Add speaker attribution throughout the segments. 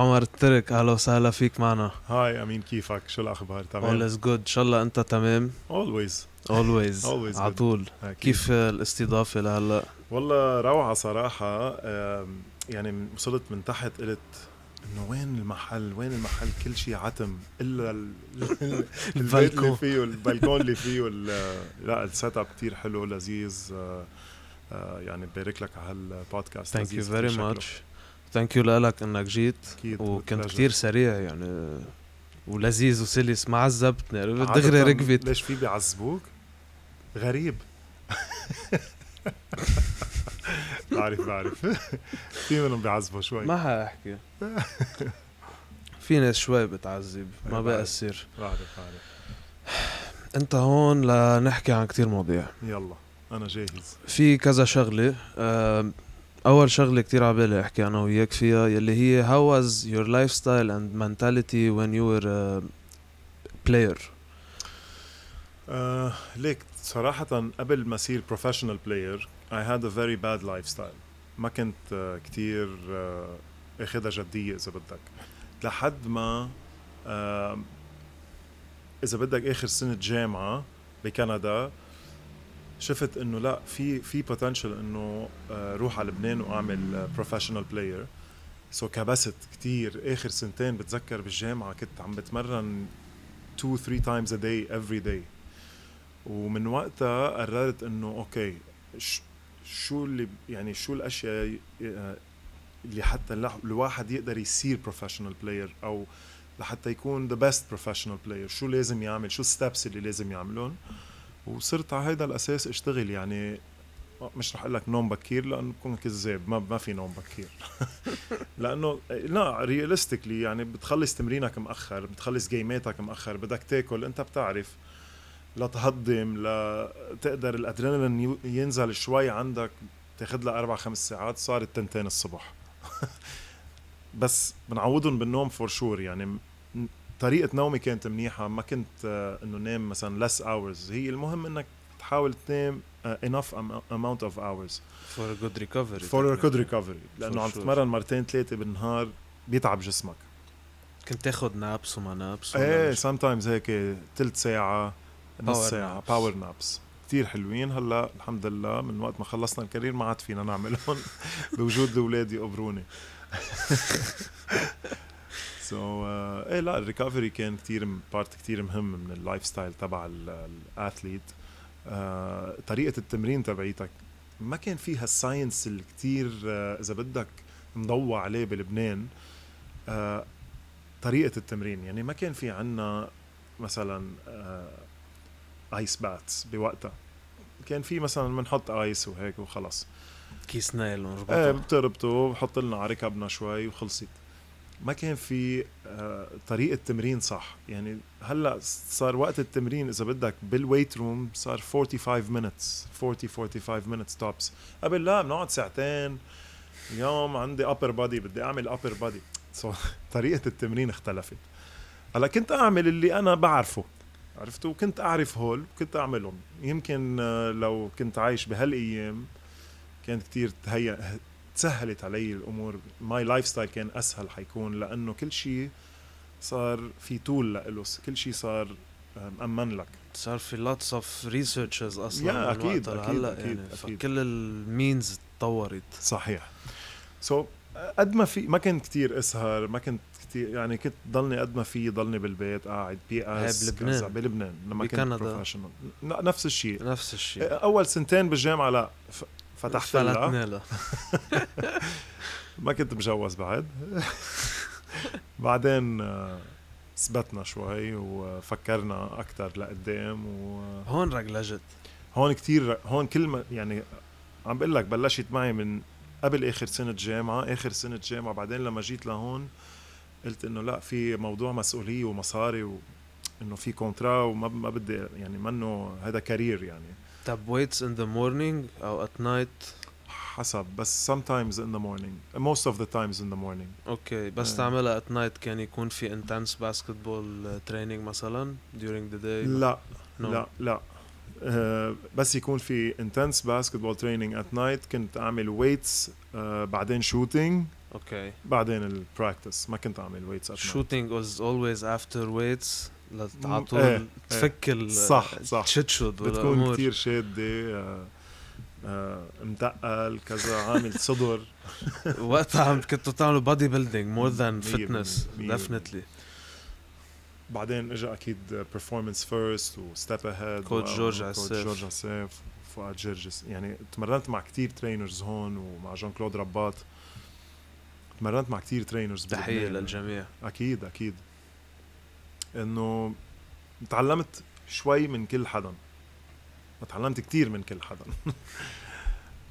Speaker 1: عمر الترك اهلا وسهلا فيك معنا
Speaker 2: هاي امين كيفك شو الاخبار
Speaker 1: اول
Speaker 2: تمام
Speaker 1: از جود ان شاء الله انت تمام
Speaker 2: اولويز
Speaker 1: اولويز
Speaker 2: Always
Speaker 1: على
Speaker 2: good.
Speaker 1: طول كيف الاستضافه لهلا
Speaker 2: والله روعه صراحه أم، يعني من- وصلت من تحت قلت انه وين المحل وين المحل كل شيء عتم الا ال- ال- البيت
Speaker 1: البلكون.
Speaker 2: اللي فيه البلكون اللي فيه وال- لا السيت اب كثير حلو لذيذ أه، أه، يعني ببارك لك على هالبودكاست
Speaker 1: ثانك يو
Speaker 2: لذيذ
Speaker 1: فيري
Speaker 2: بشكله.
Speaker 1: ماتش ثانك يو لك انك جيت
Speaker 2: أكيد،
Speaker 1: وكنت
Speaker 2: بالpleasure.
Speaker 1: كتير سريع يعني ولذيذ وسلس ما عذبتني عرفت؟
Speaker 2: عادة
Speaker 1: دغري ركبت
Speaker 2: ليش في بيعذبوك؟ غريب بعرف بعرف في منهم بيعذبوا شوي
Speaker 1: ما حاحكي في ناس شوي بتعذب ما
Speaker 2: أيوة.
Speaker 1: بأثر
Speaker 2: بعرف بعرف
Speaker 1: انت هون لنحكي عن كتير مواضيع
Speaker 2: يلا انا جاهز
Speaker 1: في كذا شغلة آم، أول شغلة كتير عبالي أحكي أنا وياك فيها يلي هي how was your lifestyle and mentality when you were a player
Speaker 2: آه ليك صراحة قبل ما أصير بروفيشنال بلاير I had a very bad lifestyle ما كنت آه كتير آه اخذها جدية إذا بدك لحد ما آه إذا بدك آخر سنة جامعة بكندا شفت انه لا في في بوتنشل انه آه، روح على لبنان آه، واعمل بروفيشنال بلاير سو كبست كتير اخر سنتين بتذكر بالجامعه كنت عم بتمرن 2 3 تايمز ا داي افري داي ومن وقتها قررت انه اوكي ش- شو اللي يعني شو الاشياء ي- آه، اللي حتى الح- الواحد يقدر يصير بروفيشنال بلاير او لحتى يكون ذا بيست بروفيشنال بلاير شو لازم يعمل شو الستبس اللي لازم يعملهم وصرت على هيدا الاساس اشتغل يعني مش رح اقول لك نوم بكير لانه بكون كذاب ما ما في نوم بكير لانه لا رياليستيكلي يعني بتخلص تمرينك مأخر بتخلص جيماتك مأخر بدك تاكل انت بتعرف لتهضم لتقدر الادرينالين يو- ينزل شوي عندك تاخذ لها اربع خمس ساعات صارت تنتين الصبح بس بنعوضهم بالنوم فور شور يعني م- طريقه نومي كانت منيحه ما كنت آه، انه نام مثلا less hours هي المهم انك تحاول تنام آه، enough am- amount of hours
Speaker 1: for a good recovery
Speaker 2: for good recovery
Speaker 1: For
Speaker 2: لانه عم
Speaker 1: sure.
Speaker 2: تتمرن مرتين ثلاثه بالنهار بيتعب جسمك
Speaker 1: كنت تاخد نابس وما نابس
Speaker 2: ايه سام تايمز هيك ثلث ساعة نص
Speaker 1: Power
Speaker 2: ساعة
Speaker 1: naps.
Speaker 2: باور نابس كتير حلوين هلا الحمد لله من وقت ما خلصنا الكارير ما عاد فينا نعملهم بوجود الاولاد يقبروني سو so, uh, ايه لا الريكفري كان كتير بارت كتير مهم من اللايف ستايل تبع ال- الاثليت uh, طريقة التمرين تبعيتك ما كان فيها الساينس اللي كتير uh, اذا بدك مضوى عليه بلبنان آه، طريقه التمرين يعني ما كان في عنا آه، مثلا ايس باتس بوقتها كان في مثلا بنحط ايس وهيك وخلص
Speaker 1: كيس نايل
Speaker 2: ايه
Speaker 1: ونربطه
Speaker 2: بتربطه وبحط لنا على ركبنا شوي وخلصت ما كان في آه، طريقه تمرين صح يعني هلا صار وقت التمرين اذا بدك بالويت روم صار 45 مينتس 40 45 مينتس توبس قبل لا بنقعد ساعتين اليوم عندي ابر بادي بدي اعمل ابر بادي سو طريقه التمرين اختلفت هلا كنت اعمل اللي انا بعرفه عرفت وكنت اعرف هول كنت اعملهم يمكن آه، لو كنت عايش بهالايام كانت كتير تهيأ تسهلت علي الامور ماي لايف ستايل كان اسهل حيكون لانه كل شيء صار في طول لإله كل شيء صار آه، مأمن لك
Speaker 1: صار في lots of researches أصلا
Speaker 2: يا
Speaker 1: من
Speaker 2: أكيد،
Speaker 1: وقتها
Speaker 2: أكيد،
Speaker 1: لهلا
Speaker 2: أكيد،
Speaker 1: يعني
Speaker 2: أكيد.
Speaker 1: فكل المينز تطورت
Speaker 2: صحيح سو so, قد ما في ما كنت كتير اسهر ما كنت كتير يعني كنت ضلني قد ما في ضلني بالبيت قاعد بي اس
Speaker 1: هي بلبنان.
Speaker 2: كذا، بلبنان لما كنت
Speaker 1: بكندا.
Speaker 2: بروفيشنال نفس الشيء
Speaker 1: نفس الشيء
Speaker 2: اول سنتين بالجامعه لا ف- إيه، فتحت لها
Speaker 1: فلتنا لها
Speaker 2: ما كنت مجوز بعد بعدين آه، ثبتنا شوي وفكرنا اكثر لقدام وهون
Speaker 1: هون رجلجت
Speaker 2: كتير هون كل ما يعني عم بقول لك بلشت معي من قبل اخر سنه جامعه اخر سنه جامعه بعدين لما جيت لهون قلت انه لا في موضوع مسؤوليه ومصاري و انه في كونترا وما ما بدي يعني منه هذا كارير يعني
Speaker 1: طب ويتس in the morning أو at night
Speaker 2: حسب بس sometimes in the morning most of the times in the morning
Speaker 1: اوكي بس
Speaker 2: آه.
Speaker 1: تعملها ات نايت كان يكون في انتنس باسكتبول تريننج مثلا during the day
Speaker 2: لا
Speaker 1: No.
Speaker 2: لا لا آه، بس يكون في انتنس باسكتبول تريننج ات نايت كنت اعمل ويتس آه، بعدين شوتينج
Speaker 1: اوكي
Speaker 2: بعدين البراكتس ما كنت اعمل ويتس اب
Speaker 1: شوتينج از اولويز افتر ويتس
Speaker 2: إيه،
Speaker 1: لتعطول
Speaker 2: إيه.
Speaker 1: تفك ال
Speaker 2: صح، صح.
Speaker 1: تشتشد
Speaker 2: بتكون
Speaker 1: والامور
Speaker 2: كتير شاده آه، آه، متقل كذا عامل صدر
Speaker 1: وقتها عم كنتوا تعملوا بادي بيلدينج مور ذان
Speaker 2: مية بالمية،
Speaker 1: فتنس
Speaker 2: مية بالمية.
Speaker 1: ديفنتلي
Speaker 2: بعدين اجى اكيد بيرفورمانس فيرست وستيب اهيد
Speaker 1: كوتش جورج عساف.
Speaker 2: كوتش جورج عساف فؤاد جرجس يعني تمرنت مع كتير ترينرز هون ومع جون كلود رباط تمرنت مع كتير ترينرز
Speaker 1: تحيه للجميع
Speaker 2: اكيد اكيد انه تعلمت شوي من كل حدا ما تعلمت كتير من كل حدا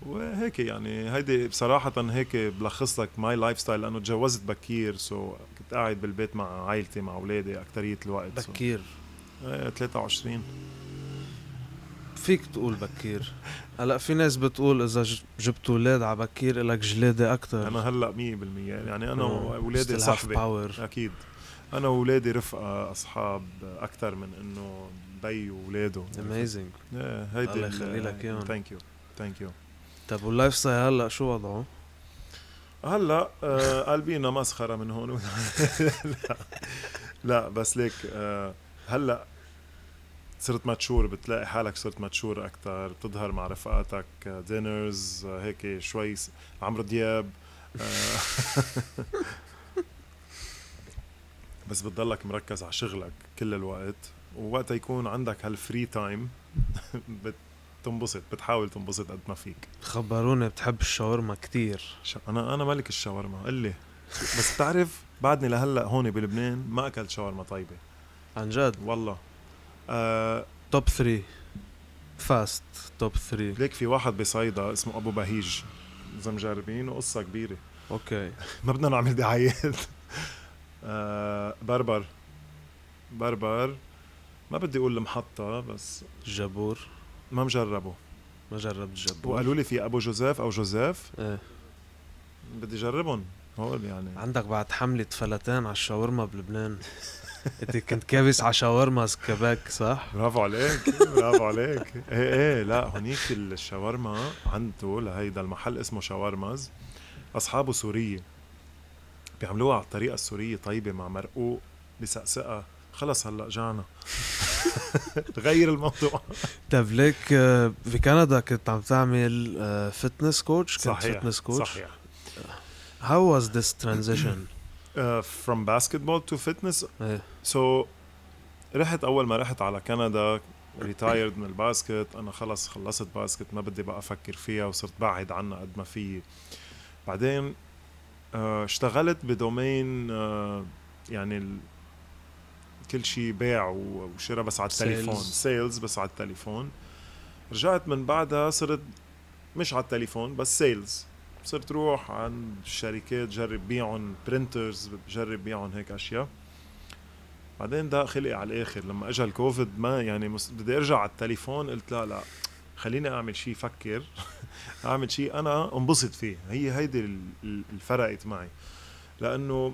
Speaker 2: وهيك يعني هيدي بصراحة هيك بلخص لك ماي لايف ستايل لأنه تجوزت بكير سو كنت قاعد بالبيت مع عائلتي مع أولادي أكترية الوقت so-
Speaker 1: بكير
Speaker 2: ايه 23
Speaker 1: فيك تقول بكير هلا في ناس بتقول اذا ج- جبت اولاد على بكير الك جلاده اكثر
Speaker 2: أنا هلا 100% يعني
Speaker 1: Mm.
Speaker 2: أنا وأولادي صحبة
Speaker 1: باور
Speaker 2: أكيد أنا وأولادي رفقة أصحاب أكثر من إنه بي وأولاده
Speaker 1: اميزنج
Speaker 2: ايه هيدي
Speaker 1: الله يخلي لك إياهم.
Speaker 2: ثانك يو ثانك يو
Speaker 1: طب واللايف ستايل هلا شو وضعه؟
Speaker 2: هلا آه، قلبينا مسخره من هون لا. لا بس ليك آه، هلا صرت ماتشور بتلاقي حالك صرت ماتشور اكثر بتظهر مع رفقاتك دينرز هيك شوي س- عمرو دياب آه، بس بتضلك مركز على شغلك كل الوقت ووقت يكون عندك هالفري تايم بتنبسط بتحاول تنبسط قد ما فيك
Speaker 1: خبروني بتحب الشاورما كتير
Speaker 2: ش- انا انا ملك الشاورما قل لي بس بتعرف بعدني لهلا هون بلبنان ما اكلت شاورما طيبه
Speaker 1: عن جد
Speaker 2: والله آه
Speaker 1: توب 3 فاست توب 3
Speaker 2: ليك في واحد بصيدا اسمه ابو بهيج اذا مجربين قصه كبيره
Speaker 1: اوكي
Speaker 2: ما بدنا نعمل دعايات آه بربر بربر ما بدي اقول المحطه بس
Speaker 1: جابور
Speaker 2: ما مجربه
Speaker 1: ما جربت جابور
Speaker 2: وقالوا لي في ابو جوزيف او جوزيف
Speaker 1: ايه
Speaker 2: بدي جربهم هول يعني
Speaker 1: عندك بعد حملة فلتان على الشاورما بلبنان انت كنت كابس على شاورما كباك صح؟
Speaker 2: برافو عليك برافو عليك ايه ايه لا هونيك الشاورما عنده لهيدا المحل اسمه شاورماز اصحابه سوريه بيعملوها على الطريقه السوريه طيبه مع مرقوق بسقسقه خلص هلا جعنا غير الموضوع
Speaker 1: طيب ليك آه، في كندا كنت عم تعمل فتنس كوتش كنت
Speaker 2: صحيح
Speaker 1: فتنس كوتش
Speaker 2: صحيح
Speaker 1: هاو واز ذس ترانزيشن؟
Speaker 2: Uh, from basketball to fitness
Speaker 1: إيه.
Speaker 2: so رحت اول ما رحت على كندا ريتايرد من الباسكت انا خلص خلصت باسكت ما بدي بقى افكر فيها وصرت بعد عنها قد ما في بعدين آه، اشتغلت بدومين آه، يعني ال- كل شيء بيع و- وشراء بس على التليفون
Speaker 1: Sales.
Speaker 2: سيلز بس على التليفون رجعت من بعدها صرت مش على التليفون بس سيلز صرت روح عند الشركات جرب بيعهم برنترز جرب بيعهم هيك اشياء بعدين ده خلقي على الاخر لما اجى الكوفيد ما يعني مس- بدي ارجع على التليفون قلت لا لا خليني اعمل شيء فكر اعمل شيء انا انبسط فيه هي هيدي ال- ال- الفرقت معي لانه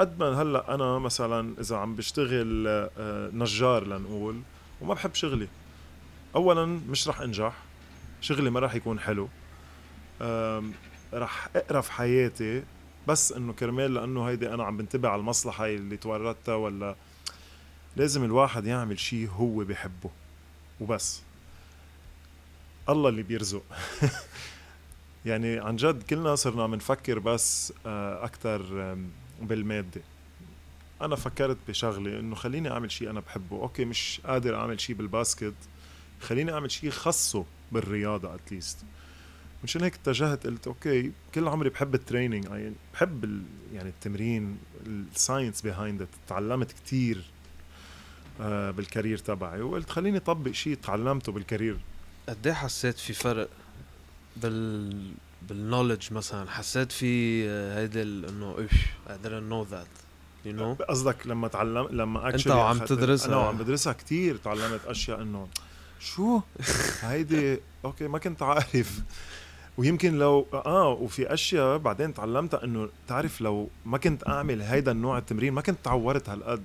Speaker 2: قد ما هلا انا مثلا اذا عم بشتغل آه، نجار لنقول وما بحب شغلي اولا مش رح انجح شغلي ما رح يكون حلو آم، رح اقرف حياتي بس انه كرمال لانه هيدي انا عم بنتبه على المصلحه اللي توردتها ولا لازم الواحد يعمل شيء هو بحبه وبس الله اللي بيرزق يعني عن جد كلنا صرنا عم نفكر بس آه، اكثر بالماده انا فكرت بشغله انه خليني اعمل شيء انا بحبه اوكي مش قادر اعمل شيء بالباسكت خليني اعمل شيء خصه بالرياضه اتليست مشان هيك اتجهت قلت اوكي كل عمري بحب التريننج يعني بحب ال- يعني التمرين الساينس بيهايند تعلمت كتير آه، بالكارير تبعي وقلت خليني اطبق شيء تعلمته بالكارير
Speaker 1: قد ايه حسيت في فرق بال بالنولج مثلا حسيت في آه، هيدا ال- انه اوف I didn't know that you know
Speaker 2: قصدك لما تعلم لما
Speaker 1: أنت
Speaker 2: actually
Speaker 1: وعم
Speaker 2: أخدت-
Speaker 1: تدرسها.
Speaker 2: انا وعم بدرسها كتير تعلمت اشياء انه شو هيدي اوكي ما كنت عارف ويمكن لو اه وفي اشياء بعدين تعلمتها انه تعرف لو ما كنت اعمل هيدا النوع التمرين ما كنت تعورت هالقد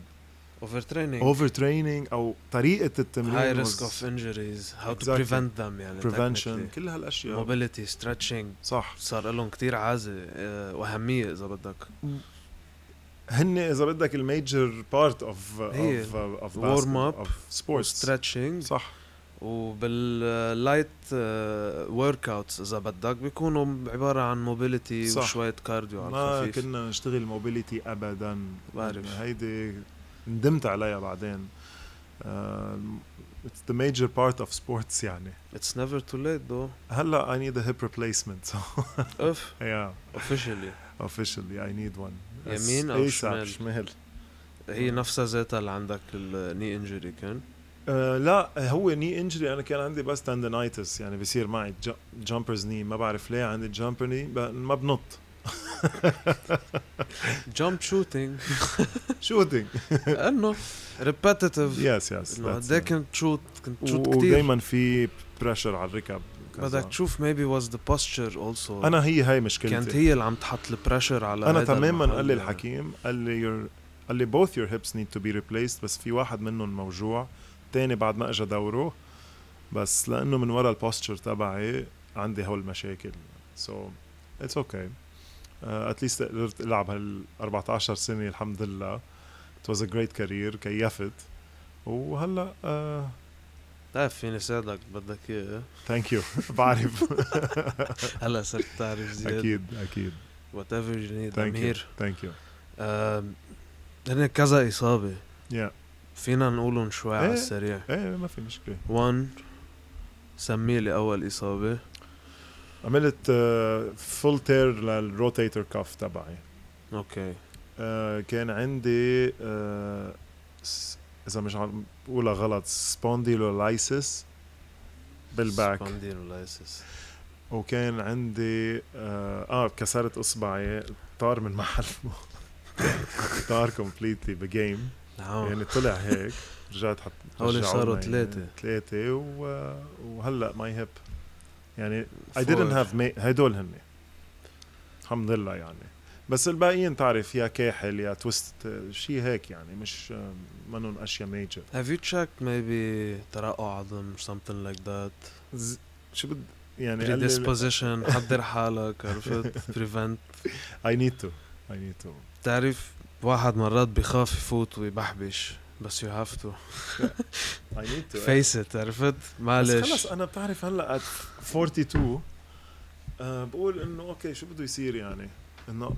Speaker 1: اوفر تريننج
Speaker 2: اوفر تريننج او طريقه التمرين
Speaker 1: هاي
Speaker 2: was
Speaker 1: ريسك اوف انجريز هاو تو
Speaker 2: Exactly.
Speaker 1: بريفنت ذم يعني
Speaker 2: prevention كل هالاشياء
Speaker 1: موبيليتي ستريتشنج
Speaker 2: صح
Speaker 1: صار لهم كتير عازه آه، واهميه اذا بدك
Speaker 2: هن اذا بدك الميجر بارت اوف
Speaker 1: هي.
Speaker 2: اوف اوف
Speaker 1: Warm up
Speaker 2: اوف سبورتس
Speaker 1: ستريتشنج
Speaker 2: صح
Speaker 1: وباللايت ورك اوتس اذا آه، بدك بيكونوا عباره عن موبيليتي
Speaker 2: صح.
Speaker 1: وشويه كارديو على
Speaker 2: ما
Speaker 1: الخفيف
Speaker 2: كنا نشتغل موبيليتي ابدا
Speaker 1: بعرف.
Speaker 2: هيدي ندمت عليها بعدين Uh, اتس ذا ميجر بارت اوف سبورتس يعني
Speaker 1: اتس نيفر تو ليت ذو
Speaker 2: هلا اي نيد ا هيب ريبليسمنت سو
Speaker 1: اف
Speaker 2: يا
Speaker 1: اوفيشلي
Speaker 2: اوفيشلي اي نيد ون
Speaker 1: يمين أو شمال؟
Speaker 2: شمال
Speaker 1: هي نفسها ذاتها اللي عندك الني انجري كان
Speaker 2: آه، لا هو ني انجري انا كان عندي بس تندنايتس يعني بصير معي جامبرز ني ما بعرف ليه عندي جامبر ني ما بنط
Speaker 1: جامب شوتينج
Speaker 2: شوتينج
Speaker 1: انه ريبيتيتيف
Speaker 2: يس يس
Speaker 1: انه قد إيه كنت تشوت كنت تشوت كثير
Speaker 2: ودائما في بريشر على الركب كذا.
Speaker 1: بدك تشوف ميبي واز ذا بوستشر اولسو
Speaker 2: انا هي هاي مشكلتي
Speaker 1: كانت هي اللي عم تحط البريشر على
Speaker 2: انا
Speaker 1: هيدا
Speaker 2: تماما
Speaker 1: المحل
Speaker 2: قال لي
Speaker 1: يعني.
Speaker 2: الحكيم قال لي your قال لي both your hips need to be replaced بس في واحد منهم موجوع تاني بعد ما اجى دوره بس لانه من ورا البوستشر تبعي عندي هول المشاكل سو اتس اوكي اتليست Uh, قدرت العب هال 14 سنه الحمد لله ات واز ا جريت كارير كيفت uh, وهلا
Speaker 1: بتعرف فيني ساعدك بدك اياه
Speaker 2: ثانك يو بعرف
Speaker 1: هلا صرت تعرف زياد
Speaker 2: اكيد اكيد
Speaker 1: وات ايفر يو نيد ام
Speaker 2: ثانك يو
Speaker 1: هير
Speaker 2: ثانك يو
Speaker 1: هن كذا اصابه
Speaker 2: يا
Speaker 1: فينا نقولهم شوي على
Speaker 2: إيه.
Speaker 1: السريع
Speaker 2: ايه ما في مشكله
Speaker 1: 1 سمي لي اول اصابه
Speaker 2: عملت آه، فول تير للروتيتر كاف تبعي
Speaker 1: اوكي
Speaker 2: آه، كان عندي آه، س- اذا مش عم بقولها غلط سبونديلولايسس بالباك
Speaker 1: سبونديلولايسيس
Speaker 2: وكان عندي اه, آه كسرت اصبعي طار من محله طار كومبليتلي بجيم يعني طلع هيك رجعت حط
Speaker 1: آه. هول
Speaker 2: رجعوا
Speaker 1: صاروا
Speaker 2: لنا
Speaker 1: تلاتة.
Speaker 2: ثلاثة و- وهلا ماي هيب يعني I didn't have ma- هدول هن الحمد لله يعني بس الباقيين تعرف يا كاحل يا تويست شيء هيك يعني مش منهم اشياء ميجر
Speaker 1: Have you checked maybe ترقع عظم or something like that
Speaker 2: شو بد يعني قال لي-
Speaker 1: predisposition حضر حالك عرفت prevent
Speaker 2: I need to I need to
Speaker 1: بتعرف واحد مرات بخاف يفوت ويبحبش بس you have to
Speaker 2: I need to
Speaker 1: face it عرفت
Speaker 2: بس
Speaker 1: معلش
Speaker 2: خلص انا بتعرف هلا at 42 آه بقول انه اوكي شو بده يصير يعني انه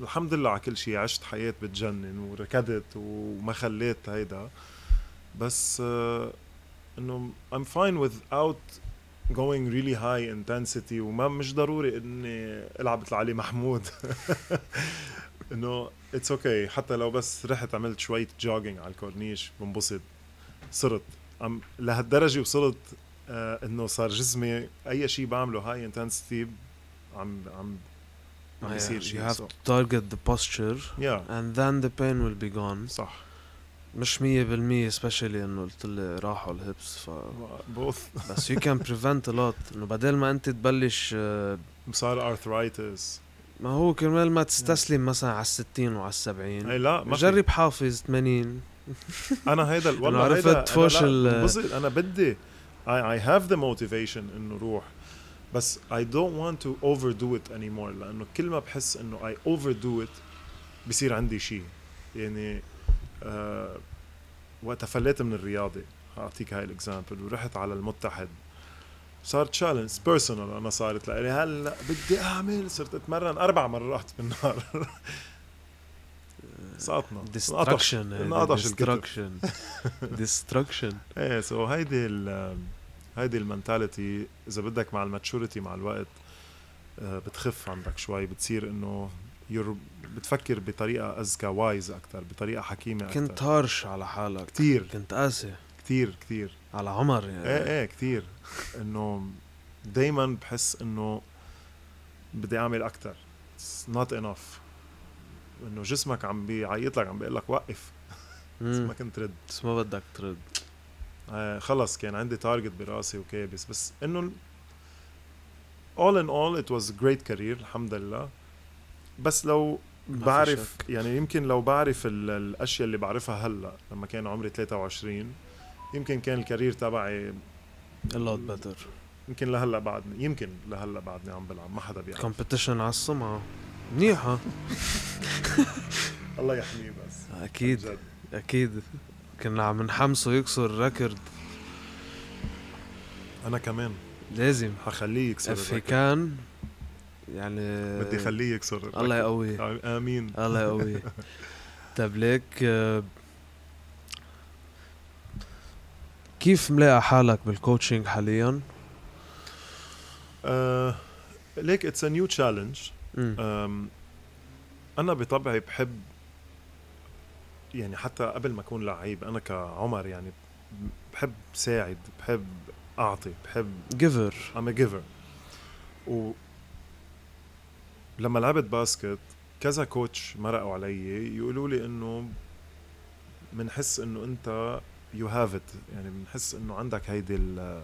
Speaker 2: الحمد لله على كل شيء عشت حياه بتجنن وركضت وما خليت هيدا بس آه انه I'm fine without going really high intensity وما مش ضروري اني العب مثل علي محمود انه اتس اوكي okay. حتى لو بس رحت عملت شويه جوجينج على الكورنيش بنبسط صرت عم لهالدرجه وصلت آه انه صار جسمي اي شيء بعمله هاي انتنسيتي عم عم عم
Speaker 1: Oh Yeah,
Speaker 2: بيصير
Speaker 1: you
Speaker 2: شيء
Speaker 1: have to target the posture
Speaker 2: يا
Speaker 1: and then the pain will be gone
Speaker 2: صح
Speaker 1: مش مية بالمية especially انه قلت لي راحوا الهبس ف
Speaker 2: بوث
Speaker 1: بس you can prevent a lot انه بدل ما انت تبلش آه،
Speaker 2: صار ارثرايتس
Speaker 1: ما هو كرمال ما تستسلم مثلا على الستين وعلى السبعين
Speaker 2: اي إيه، لا ما في.
Speaker 1: جرب حافظ 80
Speaker 2: انا هيدا والله
Speaker 1: إنه عرفت
Speaker 2: هيدا أنا
Speaker 1: تفوش
Speaker 2: لا،
Speaker 1: ال-
Speaker 2: بنبسط انا بدي اي اي هاف ذا موتيفيشن انه روح بس اي دونت want تو اوفر دو ات اني مور لانه كل ما بحس انه اي اوفر دو ات بصير عندي شيء يعني آه وقت فليت من الرياضه اعطيك هاي الاكزامبل ورحت على المتحد صار تشالنج بيرسونال انا صارت لي هلا بدي اعمل صرت اتمرن اربع مرات بالنهار سقطنا انقطش.
Speaker 1: ديستركشن
Speaker 2: انقطش الكتف.
Speaker 1: ديستركشن ديستركشن
Speaker 2: ايه سو هيدي ال هيدي المنتاليتي اذا بدك مع الماتشوريتي مع الوقت آه، بتخف عندك شوي بتصير انه يور بتفكر بطريقه اذكى وايز اكثر بطريقه حكيمه اكثر
Speaker 1: كنت هارش على حالك
Speaker 2: كتير.
Speaker 1: كنت قاسي
Speaker 2: كثير كثير
Speaker 1: على عمر يعني
Speaker 2: ايه ايه كثير انه دائما بحس انه بدي اعمل اكثر نوت انف انه جسمك عم بيعيط لك عم بيقول لك وقف بس
Speaker 1: مم.
Speaker 2: ما كنت رد
Speaker 1: بس ما بدك ترد
Speaker 2: آه خلص كان عندي تارجت براسي وكابس بس انه ال- all in all it was a great career الحمد لله بس لو
Speaker 1: ما في
Speaker 2: بعرف
Speaker 1: شك.
Speaker 2: يعني يمكن لو بعرف ال- الاشياء اللي بعرفها هلا لما كان عمري 23 يمكن كان الكارير تبعي
Speaker 1: a lot better
Speaker 2: يمكن لهلا بعدني يمكن لهلا بعدني عم بلعب ما حدا بيعرف
Speaker 1: competition على السمعة منيحة
Speaker 2: الله يحميه بس
Speaker 1: أكيد
Speaker 2: جد
Speaker 1: أكيد كنا عم نحمسه يكسر ريكورد
Speaker 2: انا كمان
Speaker 1: لازم
Speaker 2: حخليه يكسر
Speaker 1: اف
Speaker 2: الركض.
Speaker 1: كان يعني
Speaker 2: بدي خليه يكسر آه، الركض.
Speaker 1: الله يقويه
Speaker 2: امين
Speaker 1: الله يقويه طب ليك آه، كيف ملاقي حالك بالكوتشنج حاليا؟
Speaker 2: آه، ليك اتس ا نيو تشالنج
Speaker 1: مم.
Speaker 2: أم، انا بطبعي بحب يعني حتى قبل ما اكون لعيب انا كعمر يعني بحب ساعد بحب اعطي بحب
Speaker 1: جيفر
Speaker 2: I'm a giver و لما لعبت باسكت كذا كوتش مرقوا علي يقولوا لي انه بنحس انه انت يو هاف ات يعني بنحس انه عندك هيدي ال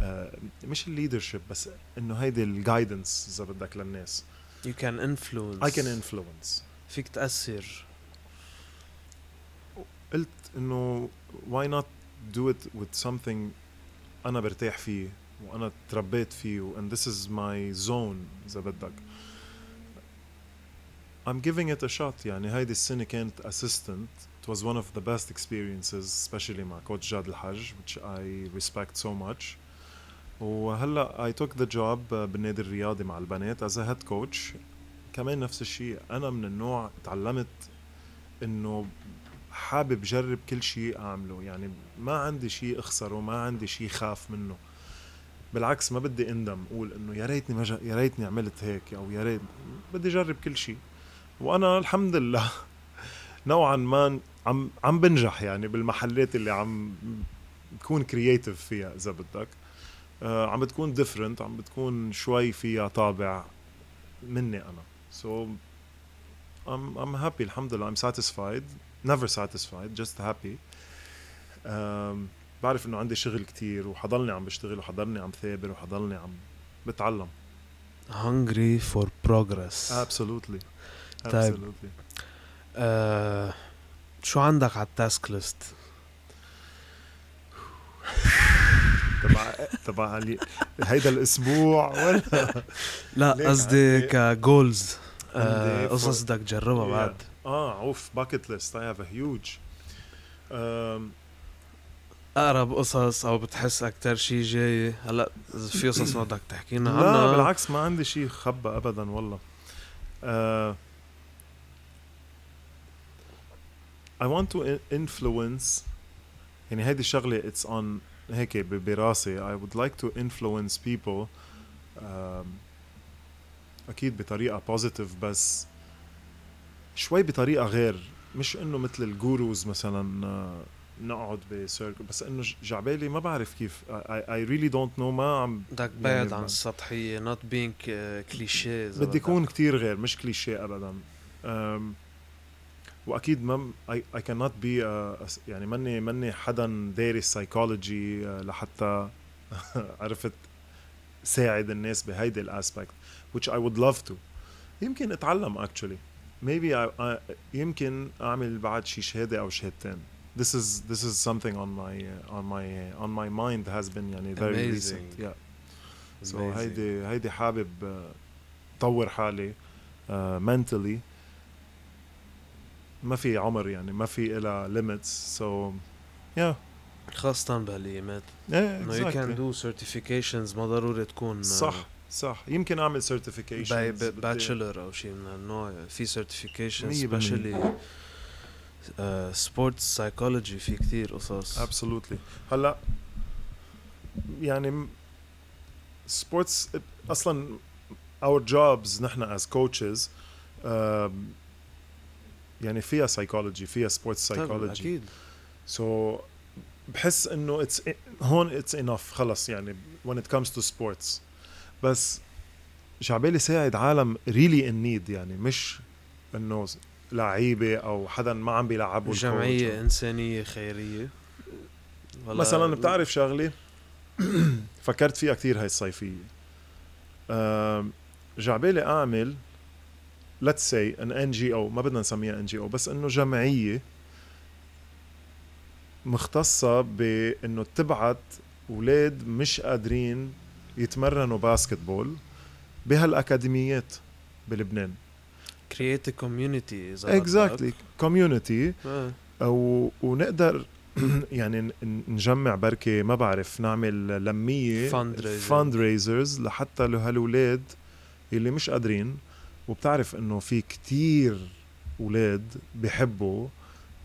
Speaker 2: آه، مش الليدرشيب بس انه هيدي الجايدنس اذا بدك للناس
Speaker 1: يو كان انفلونس
Speaker 2: اي كان انفلونس
Speaker 1: فيك تاثر
Speaker 2: قلت انه why not do it with something انا برتاح فيه وانا تربيت فيه و- and this is my zone اذا بدك I'm giving it a shot يعني هيدي السنة كانت assistant it was one of the best experiences especially مع كوتش جاد الحج which I respect so much وهلا I took the job آه، بالنادي الرياضي مع البنات as a head coach كمان نفس الشيء انا من النوع تعلمت انه حابب جرب كل شيء اعمله يعني ما عندي شيء اخسره ما عندي شيء خاف منه بالعكس ما بدي اندم اقول انه يا ريتني ما جا- يا ريتني عملت هيك او يا ريت بدي اجرب كل شيء وانا الحمد لله نوعا ما عم عم بنجح يعني بالمحلات اللي عم بكون كرييتيف فيها اذا بدك آه، عم بتكون ديفرنت عم بتكون شوي فيها طابع مني انا سو I'm I'm happy الحمد لله I'm satisfied never satisfied just happy أم بعرف انه عندي شغل كتير وحضلني عم بشتغل وحضلني عم ثابر وحضلني عم بتعلم
Speaker 1: hungry for progress
Speaker 2: absolutely
Speaker 1: طيب.
Speaker 2: absolutely
Speaker 1: آه، شو عندك على التاسك ليست؟
Speaker 2: تبع تبع علي- هيدا الاسبوع ولا ليك
Speaker 1: لا قصدي
Speaker 2: عندي-
Speaker 1: كجولز
Speaker 2: عندي for-
Speaker 1: قصص بدك تجربها
Speaker 2: Yeah.
Speaker 1: بعد
Speaker 2: اه اوف باكيت ليست اي هاف ا هيوج Um,
Speaker 1: اقرب قصص او بتحس اكتر شيء جاي هلا اذا في قصص ما بدك تحكينا عنها
Speaker 2: لا بالعكس ما عندي شيء خبى ابدا والله آه، I want to in- influence يعني هيدي الشغلة it's on هيك ب- براسي I would like to influence people آم، أكيد بطريقة positive بس شوي بطريقة غير مش إنه مثل الجوروز مثلا آه، نقعد بسيركل بس إنه ج- جعبالي ما بعرف كيف I, I- I really don't know ما عم
Speaker 1: بدك
Speaker 2: يعني
Speaker 1: بعد
Speaker 2: ب-
Speaker 1: عن السطحيه نوت بينج كليشيه
Speaker 2: بدي يكون كتير غير مش كليشيه ابدا أم واكيد ما اي اي كانت بي يعني ماني ماني حدا دارس سايكولوجي لحتى عرفت ساعد الناس بهيدي الاسبكت which I would love to يمكن اتعلم actually maybe I, I, يمكن اعمل بعد شي شهاده او شهادتين this is this is something on my on my on my mind has been يعني very recent
Speaker 1: Amazing.
Speaker 2: yeah سو هيدي هيدي حابب آه، طور حالي منتلي ما في عمر يعني ما في إلها ليميتس سو يا
Speaker 1: خاصه بهالايامات انه يو كان
Speaker 2: اكزاكتلي
Speaker 1: دو سيرتيفيكيشنز ما ضروري تكون آه،
Speaker 2: صح صح يمكن اعمل
Speaker 1: باي
Speaker 2: سيرتيفيكيشن
Speaker 1: باتشلر او شيء من النوع في سيرتيفيكيشن
Speaker 2: مية بالمية.
Speaker 1: سبيشلي سبورتس سايكولوجي آه، في كتير قصص
Speaker 2: ابسولوتلي هلا يعني سبورتس اصلا اور جوبز نحن از كوتشز يعني فيها سايكولوجي فيها سبورتس
Speaker 1: طبعاً،
Speaker 2: سايكولوجي
Speaker 1: اكيد
Speaker 2: سو so, بحس انه اتس هون اتس انف خلص يعني when it comes to sports بس شعبالي ساعد عالم really in need يعني مش انه لعيبه او حدا ما عم بيلعبوا الكورة.
Speaker 1: جمعيه انسانيه خيريه والله-
Speaker 2: مثلا بتعرف شغله فكرت فيها كثير هاي الصيفيه أم، جعبالي اعمل let's say an NGO ما بدنا نسميها NGO بس انه جمعية مختصة بانه تبعت اولاد مش قادرين يتمرنوا باسكتبول بهالاكاديميات بلبنان
Speaker 1: كرييت كوميونيتي
Speaker 2: اكزاكتلي كوميونيتي
Speaker 1: آه،
Speaker 2: و... ونقدر يعني ن- نجمع بركي ما بعرف نعمل لميه
Speaker 1: Fundraiser.
Speaker 2: فاند ريزرز لحتى لهالولاد اللي مش قادرين وبتعرف انه في كتير اولاد بحبوا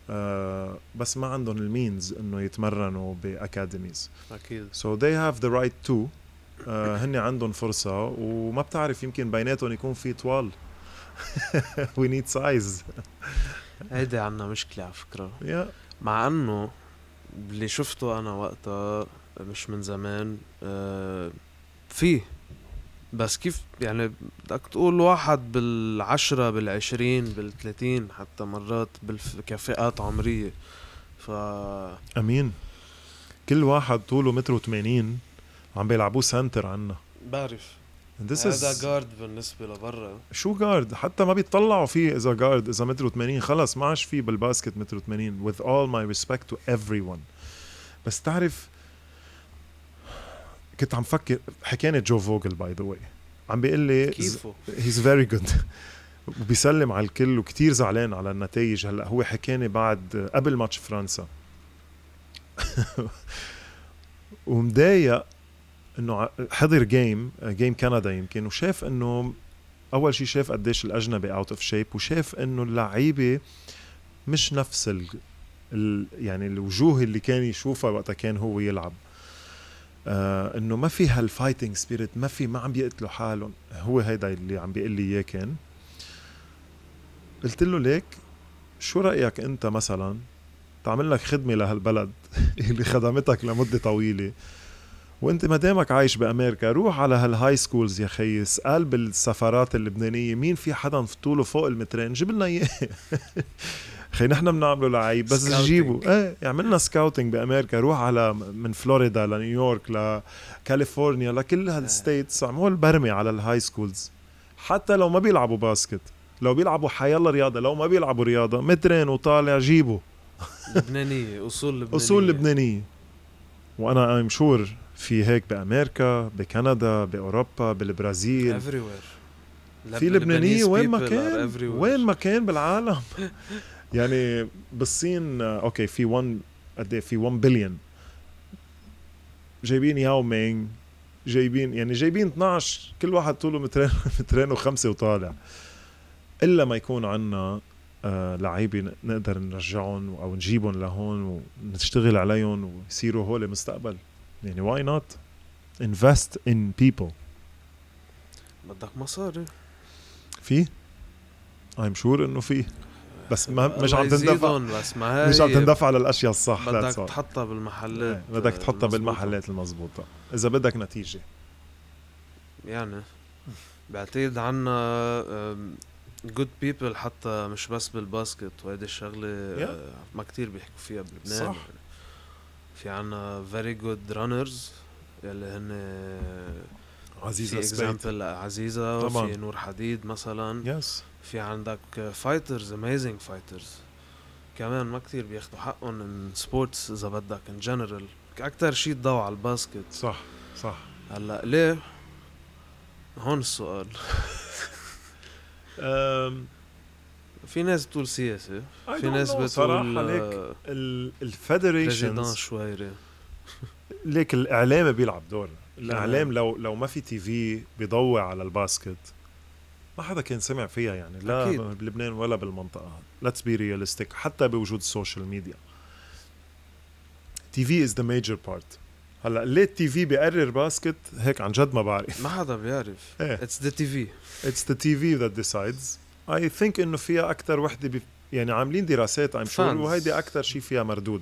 Speaker 2: آه بس ما عندهم المينز انه يتمرنوا باكاديميز
Speaker 1: اكيد
Speaker 2: سو they هاف ذا رايت تو هن آه، عندهم فرصه وما بتعرف يمكن بيناتهم يكون في طوال وي نيد سايز
Speaker 1: هيدي عنا مشكلة على فكرة
Speaker 2: يا
Speaker 1: مع انه اللي شفته انا وقتها مش من زمان آه، فيه بس كيف يعني بدك تقول واحد بالعشرة بالعشرين بالثلاثين حتى مرات بالف... كفئات عمرية ف
Speaker 2: امين كل واحد طوله متر و80 عم بيلعبوه سنتر عنا
Speaker 1: بعرف
Speaker 2: This
Speaker 1: هذا
Speaker 2: is
Speaker 1: جارد بالنسبة لبرا
Speaker 2: شو جارد حتى ما بيطلعوا فيه اذا جارد اذا متر و80 خلص ما عادش في بالباسكت متر و80 with all my respect to everyone بس تعرف كنت عم فكر حكاني جو فوجل باي ذا واي عم بيقول لي
Speaker 1: كيفه
Speaker 2: هيز فيري جود وبيسلم على الكل وكتير زعلان على النتائج هلا هو حكاني بعد قبل ماتش فرنسا ومضايق انه ع- حضر جيم جيم كندا يمكن وشاف انه اول شيء شاف قديش الاجنبي اوت اوف شيب وشاف انه اللعيبه مش نفس ال... ال... يعني الوجوه اللي كان يشوفها وقتها كان هو يلعب آه انه ما في هالفايتنج سبيريت ما في ما عم بيقتلوا حالهم هو هيدا اللي عم بيقول لي اياه كان قلت له ليك شو رايك انت مثلا تعمل لك خدمه لهالبلد اللي خدمتك لمده طويله وانت ما دامك عايش بامريكا روح على هالهاي سكولز يا خيي اسال بالسفارات اللبنانيه مين في حدا طوله فوق المترين جيب لنا اياه خي نحن بنعمله لعيب بس
Speaker 1: Scouting.
Speaker 2: جيبوا ايه عملنا سكاوتنج بامريكا روح على من فلوريدا لنيويورك لكاليفورنيا لكل هالستيتس عمول برمي على الهاي سكولز حتى لو ما بيلعبوا باسكت لو بيلعبوا حيالله رياضه لو ما بيلعبوا رياضه مترين وطالع جيبه
Speaker 1: لبنانية اصول لبنانية
Speaker 2: اصول لبنانيه وانا ام شور في هيك بامريكا بكندا باوروبا بالبرازيل
Speaker 1: everywhere
Speaker 2: في لبنانيه وين ما كان وين
Speaker 1: ما
Speaker 2: ما كان بالعالم يعني بالصين آه، اوكي في 1 قد إيه؟ في 1 بليون جايبين ياو مينغ جايبين يعني جايبين 12 كل واحد طوله مترين مترين وخمسه وطالع الا ما يكون عندنا لعيبه ن- نقدر نرجعهم او نجيبهم لهون ونشتغل عليهم ويصيروا هول مستقبل يعني واي نوت انفست ان بيبل
Speaker 1: بدك مصاري
Speaker 2: في ايم شور انه في بس ما مش
Speaker 1: الله
Speaker 2: عم تندفع
Speaker 1: يزيدن، بس ما هي
Speaker 2: مش عم تندفع للاشياء الصح
Speaker 1: بدك
Speaker 2: that's all.
Speaker 1: تحطها بالمحلات
Speaker 2: إيه، بدك
Speaker 1: آه،
Speaker 2: تحطها
Speaker 1: المظبوطة.
Speaker 2: بالمحلات المزبوطة اذا بدك نتيجه
Speaker 1: يعني بعتقد عنا جود بيبل حتى مش بس بالباسكت وهيدي الشغلة آه، ما كتير بيحكوا فيها بلبنان يعني.
Speaker 2: صح.
Speaker 1: في عنا فيري جود رانرز يلي هن
Speaker 2: عزيزه
Speaker 1: في
Speaker 2: سبيت
Speaker 1: اكزامبل عزيزة
Speaker 2: طبعاً.
Speaker 1: وفي نور حديد مثلا
Speaker 2: يس
Speaker 1: في عندك فايترز اميزنج فايترز كمان ما كتير بياخدوا حقهم من سبورتس اذا بدك ان جنرال اكتر شيء تضوي على الباسكت
Speaker 2: صح صح
Speaker 1: هلا ليه هون السؤال
Speaker 2: أم،
Speaker 1: في ناس بتقول سياسة
Speaker 2: Um, I don't
Speaker 1: في ناس
Speaker 2: know
Speaker 1: بتقول
Speaker 2: صراحه ليك
Speaker 1: آه،
Speaker 2: ال-
Speaker 1: ريزيدان
Speaker 2: الفيدريشنز
Speaker 1: شويري
Speaker 2: ليك الاعلام بيلعب دور
Speaker 1: تمام.
Speaker 2: الاعلام لو لو ما في تي في بيضوي على الباسكت ما حدا كان سمع فيها يعني لا
Speaker 1: أكيد.
Speaker 2: بلبنان ولا بالمنطقه ليتس بي رياليستيك حتى بوجود السوشيال ميديا تي في از ذا ميجر بارت هلا ليه التي في بيقرر باسكت هيك عن جد ما بعرف
Speaker 1: ما حدا بيعرف
Speaker 2: إيه.
Speaker 1: اتس ذا تي في
Speaker 2: اتس ذا تي في ذات ديسايدز اي ثينك انه فيها اكثر وحده بي... يعني عاملين دراسات ام شور
Speaker 1: Fans.
Speaker 2: وهيدي اكثر شيء فيها مردود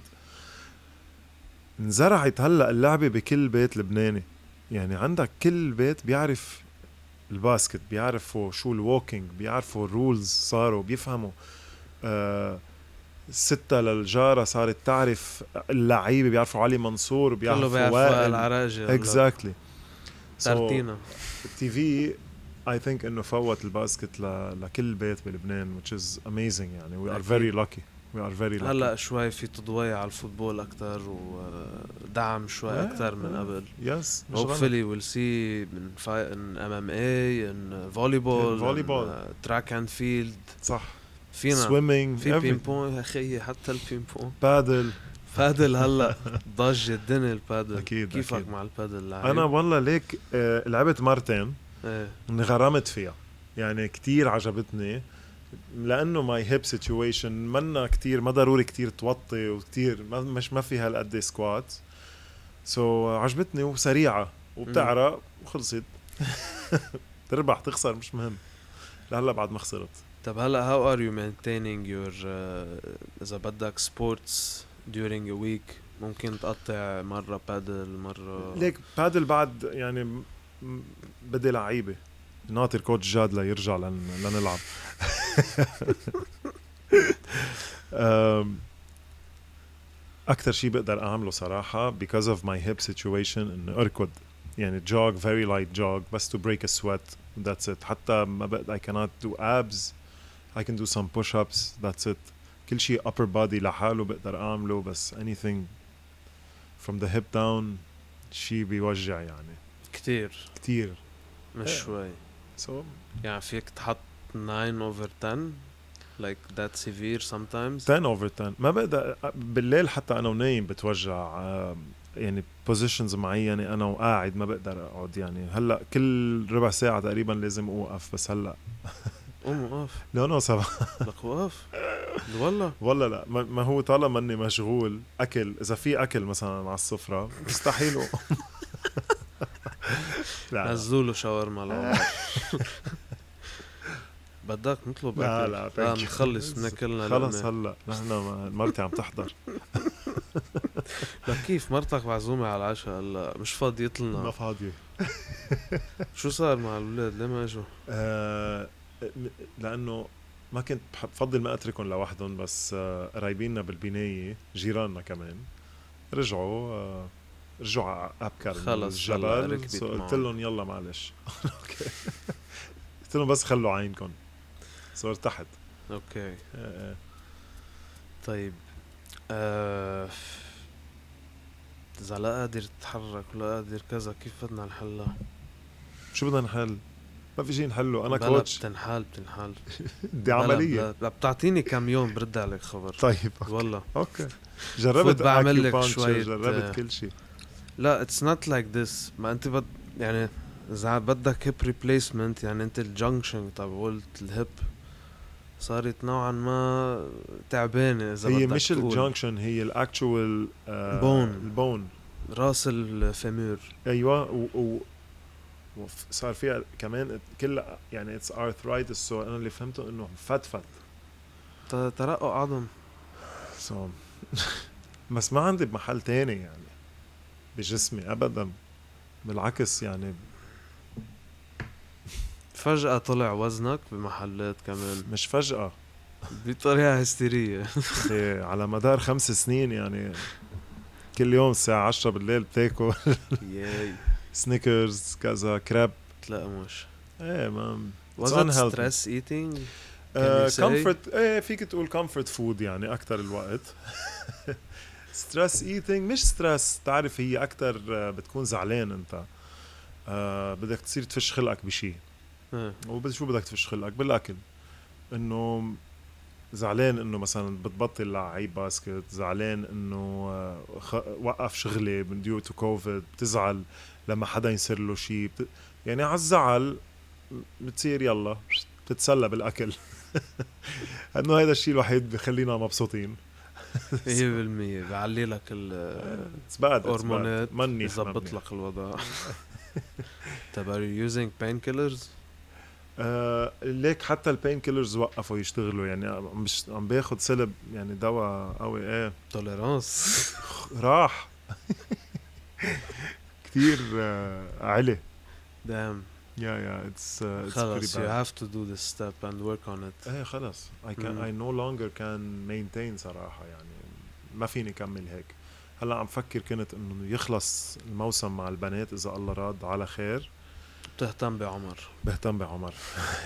Speaker 2: انزرعت هلا اللعبه بكل بيت لبناني يعني عندك كل بيت بيعرف الباسكت بيعرفوا شو الووكينج بيعرفوا الرولز صاروا بيفهموا آه ستة للجارة صارت تعرف اللعيبة بيعرفوا علي منصور
Speaker 1: كله
Speaker 2: بيعرفوا
Speaker 1: بيعرف
Speaker 2: وائل
Speaker 1: العراجي
Speaker 2: اكزاكتلي
Speaker 1: تارتينا
Speaker 2: التي في اي ثينك انه فوت الباسكت ل... لكل بيت بلبنان which is amazing يعني وي ار
Speaker 1: أكيد.
Speaker 2: فيري lucky وي ار فيري lucky
Speaker 1: هلا شوي في تضويع على الفوتبول اكثر ودعم شوي
Speaker 2: آه،
Speaker 1: اكثر من
Speaker 2: آه.
Speaker 1: قبل
Speaker 2: يس
Speaker 1: hopefully we'll see in fi- in MMA in uh, volleyball
Speaker 2: In volleyball.
Speaker 1: in, uh, track and field
Speaker 2: صح
Speaker 1: فينا
Speaker 2: swimming
Speaker 1: في بين
Speaker 2: every
Speaker 1: بون يا اخي حتى البين بون
Speaker 2: بادل
Speaker 1: بادل هلا ضج الدنيا البادل
Speaker 2: أكيد،
Speaker 1: كيفك
Speaker 2: أكيد.
Speaker 1: مع البادل لعيب؟
Speaker 2: انا والله ليك آه، لعبت مرتين
Speaker 1: ايه
Speaker 2: انغرمت فيها يعني كتير عجبتني لانه ماي هيب سيتويشن منا كتير ما ضروري كتير توطي وكتير ما مش ما في هالقد سكوات سو so, عجبتني وسريعه وبتعرق وخلصت تربح تخسر مش مهم لهلا بعد ما خسرت
Speaker 1: طب هلا how are you maintaining your uh, اذا بدك sports during a week ممكن تقطع مرة بادل مرة
Speaker 2: ليك بادل بعد يعني م- م- بدي لعيبه ناطر كوتش جاد ليرجع لن لنلعب اكثر شيء بقدر اعمله صراحه because of my hip situation انه اركض يعني jog very light jog بس to break a sweat that's it حتى ما بقدر I cannot do abs I can do some push ups that's it كل شيء upper body لحاله بقدر اعمله بس anything from the hip down شيء بيوجع يعني
Speaker 1: كتير
Speaker 2: كتير
Speaker 1: مش
Speaker 2: إيه.
Speaker 1: شوي
Speaker 2: سو
Speaker 1: يعني فيك تحط 9 over 10 like that severe sometimes
Speaker 2: 10 اوفر 10 ما بقدر بالليل حتى انا ونايم بتوجع آم، يعني بوزيشنز معينه انا وقاعد ما بقدر اقعد يعني هلا كل ربع ساعه تقريبا لازم اوقف بس هلا
Speaker 1: قوم وقف
Speaker 2: لا نو سبع
Speaker 1: لك وقف والله
Speaker 2: والله لا ما- ما هو طالما اني مشغول اكل اذا في اكل مثلا على السفره مستحيل أقوم. لا لا.
Speaker 1: نزلوا له شاورما لعمر بدك نطلب
Speaker 2: لا،
Speaker 1: أكل.
Speaker 2: لا،
Speaker 1: لا
Speaker 2: thank you.
Speaker 1: آه، نخلص ناكلنا
Speaker 2: خلص
Speaker 1: لقمة.
Speaker 2: هلا نحن ما- مرتي عم تحضر
Speaker 1: لك كيف مرتك معزومة على العشاء هلا مش فاضيت
Speaker 2: ما
Speaker 1: لنا
Speaker 2: فاضيه
Speaker 1: شو صار مع الاولاد ليه ما اجوا؟
Speaker 2: آه، م- لانه ما كنت بح- بفضل ما اتركهم لوحدهم بس آه، قرايبيننا بالبنايه جيراننا كمان رجعوا آه، رجعوا على ابكر من
Speaker 1: خلص هلا
Speaker 2: الجبل
Speaker 1: ركبت
Speaker 2: So قلت
Speaker 1: معهم.
Speaker 2: لهم يلا معلش أوكي. قلت لهم بس خلوا عينكم آه، صار تحت
Speaker 1: اوكي طيب آه، اذا لا قادر تتحرك ولا قادر كذا كيف بدنا نحلها؟
Speaker 2: شو بدنا نحل؟ ما في شيء نحله انا
Speaker 1: بلا
Speaker 2: كوتش
Speaker 1: بتنحل بتنحل
Speaker 2: بدي
Speaker 1: بلا-
Speaker 2: عمليه
Speaker 1: بلا- بتعطيني كم يوم برد عليك خبر
Speaker 2: طيب
Speaker 1: والله
Speaker 2: اوكي
Speaker 1: فوت
Speaker 2: جربت
Speaker 1: بعمل لك
Speaker 2: acupuncture،
Speaker 1: شوية، آه،
Speaker 2: جربت كل شيء
Speaker 1: لا اتس نوت لايك ذس ما انت بد يعني اذا بدك هيب ريبليسمنت يعني انت الجنكشن تبعولت الهيب صارت نوعا ما تعبانه اذا
Speaker 2: هي
Speaker 1: بدك
Speaker 2: مش
Speaker 1: تقول.
Speaker 2: الجانكشن هي الاكتشوال
Speaker 1: بون.
Speaker 2: البون
Speaker 1: راس الفيمور
Speaker 2: ايوه و, و وف- صار فيها كمان كل يعني اتس ارثرايتس سو انا اللي فهمته انه فتفت
Speaker 1: ت- ترقق عظم
Speaker 2: سو بس ما عندي بمحل تاني يعني بجسمي ابدا بالعكس يعني
Speaker 1: فجأة طلع وزنك بمحلات كمان
Speaker 2: مش فجأة
Speaker 1: بطريقة هستيرية
Speaker 2: إيه، على مدار خمس سنين يعني كل يوم الساعة 10 بالليل بتاكل
Speaker 1: ياي
Speaker 2: سنيكرز كذا كريب
Speaker 1: لا مش
Speaker 2: ايه ما
Speaker 1: was it
Speaker 2: unhealthy.
Speaker 1: stress eating
Speaker 2: آه،
Speaker 1: you say?
Speaker 2: comfort ايه فيك تقول comfort فود يعني اكثر الوقت ستريس ايتينج مش ستريس تعرف هي اكثر بتكون زعلان انت آه، بدك تصير تفش خلقك بشيء
Speaker 1: آه.
Speaker 2: وشو بدك تفش خلقك بالاكل انه زعلان انه مثلا بتبطل لعيب باسكت زعلان انه آه، خ- وقف شغلي من ديو تو كوفيد بتزعل لما حدا يصير له شيء بت... يعني على الزعل بتصير يلا بتتسلى بالاكل انه هذا الشيء الوحيد بخلينا مبسوطين
Speaker 1: 100% بعلي لك ال
Speaker 2: It's bad, it's bad.
Speaker 1: هرمونات
Speaker 2: منيح
Speaker 1: يظبط
Speaker 2: منيح.
Speaker 1: لك الوضع طب are you using painkillers؟
Speaker 2: آه ليك حتى البين كيلرز وقفوا يشتغلوا يعني عم بش... عم باخذ سلب يعني دواء قوي ايه
Speaker 1: توليرانس
Speaker 2: راح كثير آه، علي
Speaker 1: دام
Speaker 2: يا يا اتس
Speaker 1: خلص you have to do this step and work on it
Speaker 2: ايه خلص I can
Speaker 1: مم.
Speaker 2: I no longer can maintain صراحة يعني ما فيني كمل هيك هلا عم فكر كنت انه يخلص الموسم مع البنات اذا الله راد على خير
Speaker 1: بتهتم بعمر
Speaker 2: بهتم بعمر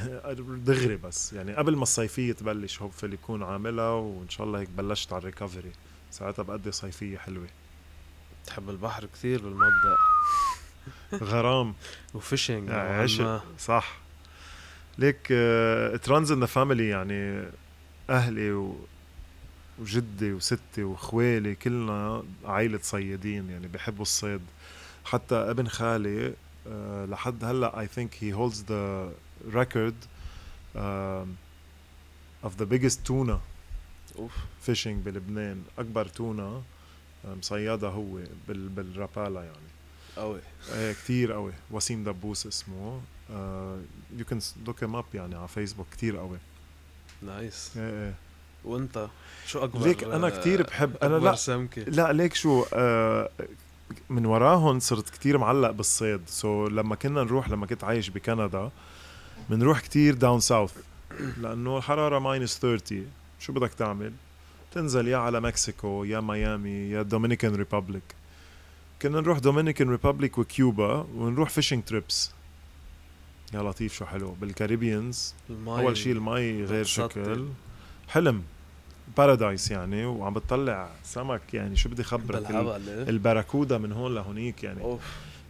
Speaker 2: دغري بس يعني قبل ما الصيفيه تبلش هوبفلي بكون عاملها وان شاء الله هيك بلشت على الريكفري ساعتها بقضي صيفيه حلوه
Speaker 1: بتحب البحر كثير بالمبدا
Speaker 2: غرام
Speaker 1: وفيشنج نوعاً
Speaker 2: عشق.
Speaker 1: ما.
Speaker 2: صح ليك ترانز ان فاميلي يعني اهلي و وجدي وستي وخوالي كلنا عائلة صيادين يعني بحبوا الصيد حتى ابن خالي آه، لحد هلا اي ثينك هي هولدز ذا ريكورد آه، اوف ذا بيجست تونه
Speaker 1: اوف
Speaker 2: فيشنج بلبنان اكبر تونه آه، مصيدها هو بال بالرابالا يعني
Speaker 1: قوي
Speaker 2: ايه كثير قوي وسيم دبوس اسمه آه، يو كان لوك ام اب يعني على فيسبوك كثير قوي
Speaker 1: نايس
Speaker 2: ايه ايه
Speaker 1: وانت شو اكبر
Speaker 2: ليك انا كتير بحب- أنا
Speaker 1: أكبر
Speaker 2: لا.
Speaker 1: سمكه
Speaker 2: لا ليك شو آه، من وراهم صرت كتير معلق بالصيد سو so, لما كنا نروح لما كنت عايش بكندا بنروح كتير داون ساوث لانه الحراره ماينس 30 شو بدك تعمل؟ تنزل يا على مكسيكو يا ميامي يا دومينيكان ريبابليك كنا نروح دومينيكان ريبابليك وكيوبا ونروح فيشنج تريبس يا لطيف شو حلو بالكاريبيانز
Speaker 1: المي
Speaker 2: اول شيء المي غير
Speaker 1: بتسطر.
Speaker 2: شكل حلم بارادايس يعني وعم بتطلع سمك يعني شو بدي خبرك ال-
Speaker 1: بالهبل إيه؟
Speaker 2: الباراكودا من هون لهونيك يعني
Speaker 1: اوف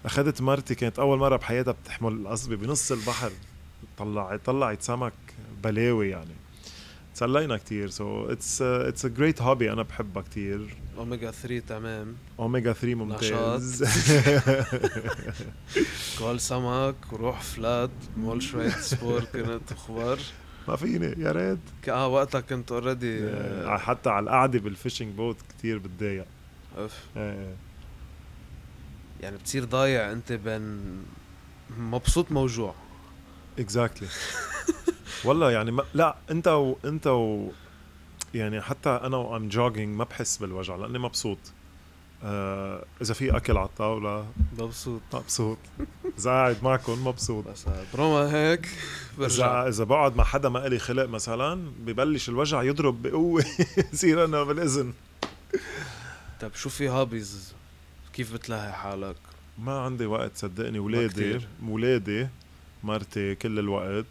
Speaker 2: اخذت مرتي كانت اول مره بحياتها بتحمل القصبه بنص البحر طلعت طلعت سمك بلاوي يعني تسلينا كتير سو اتس اتس ا جريت هوبي انا بحبها كتير
Speaker 1: اوميجا 3 تمام
Speaker 2: اوميجا 3 ممتاز
Speaker 1: كل سمك وروح فلات مول شوية سبور كنت اخبار
Speaker 2: ما فيني يا ريت
Speaker 1: ك- اه وقتها كنت اوريدي
Speaker 2: آه، حتى على القعده بالفيشنج بوت كتير بتضايق آه،
Speaker 1: يعني بتصير ضايع انت بين مبسوط موجوع
Speaker 2: اكزاكتلي والله يعني ما لا انت و... انت و... يعني حتى انا وام جوجينج ما بحس بالوجع لاني مبسوط آه اذا في اكل على الطاوله
Speaker 1: مبسوط
Speaker 2: مبسوط اذا قاعد معكم مبسوط
Speaker 1: بس بروما هيك برجع
Speaker 2: اذا اذا بقعد مع حدا ما الي خلق مثلا ببلش الوجع يضرب بقوه يصير انا بالاذن
Speaker 1: طب طيب، شو في هوبيز كيف بتلاهي حالك
Speaker 2: ما عندي وقت صدقني ولادي
Speaker 1: كتير.
Speaker 2: ولادي مرتي كل الوقت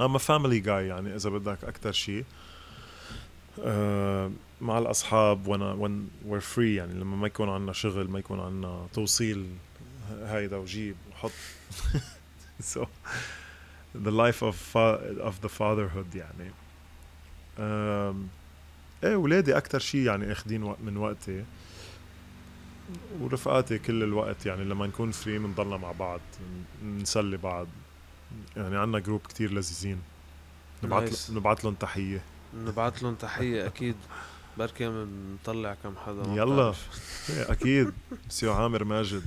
Speaker 2: اما فاميلي جاي يعني اذا بدك اكثر شيء أم، مع الاصحاب وانا وين وير فري يعني لما ما يكون عندنا شغل ما يكون عندنا توصيل هيدا وجيب وحط so the life of fa- of the fatherhood يعني أم، ايه ولادي اكثر شيء يعني اخذين وق- من وقتي ورفقاتي كل الوقت يعني لما نكون فري بنضلنا مع بعض نسلي بعض يعني عندنا جروب كتير لذيذين نبعت
Speaker 1: Nice.
Speaker 2: نبعت لهم تحيه
Speaker 1: نبعت لهم تحية اكيد بركي بنطلع كم حدا ما
Speaker 2: يلا.
Speaker 1: بتعرف.
Speaker 2: إيه، اكيد مسيو عامر ماجد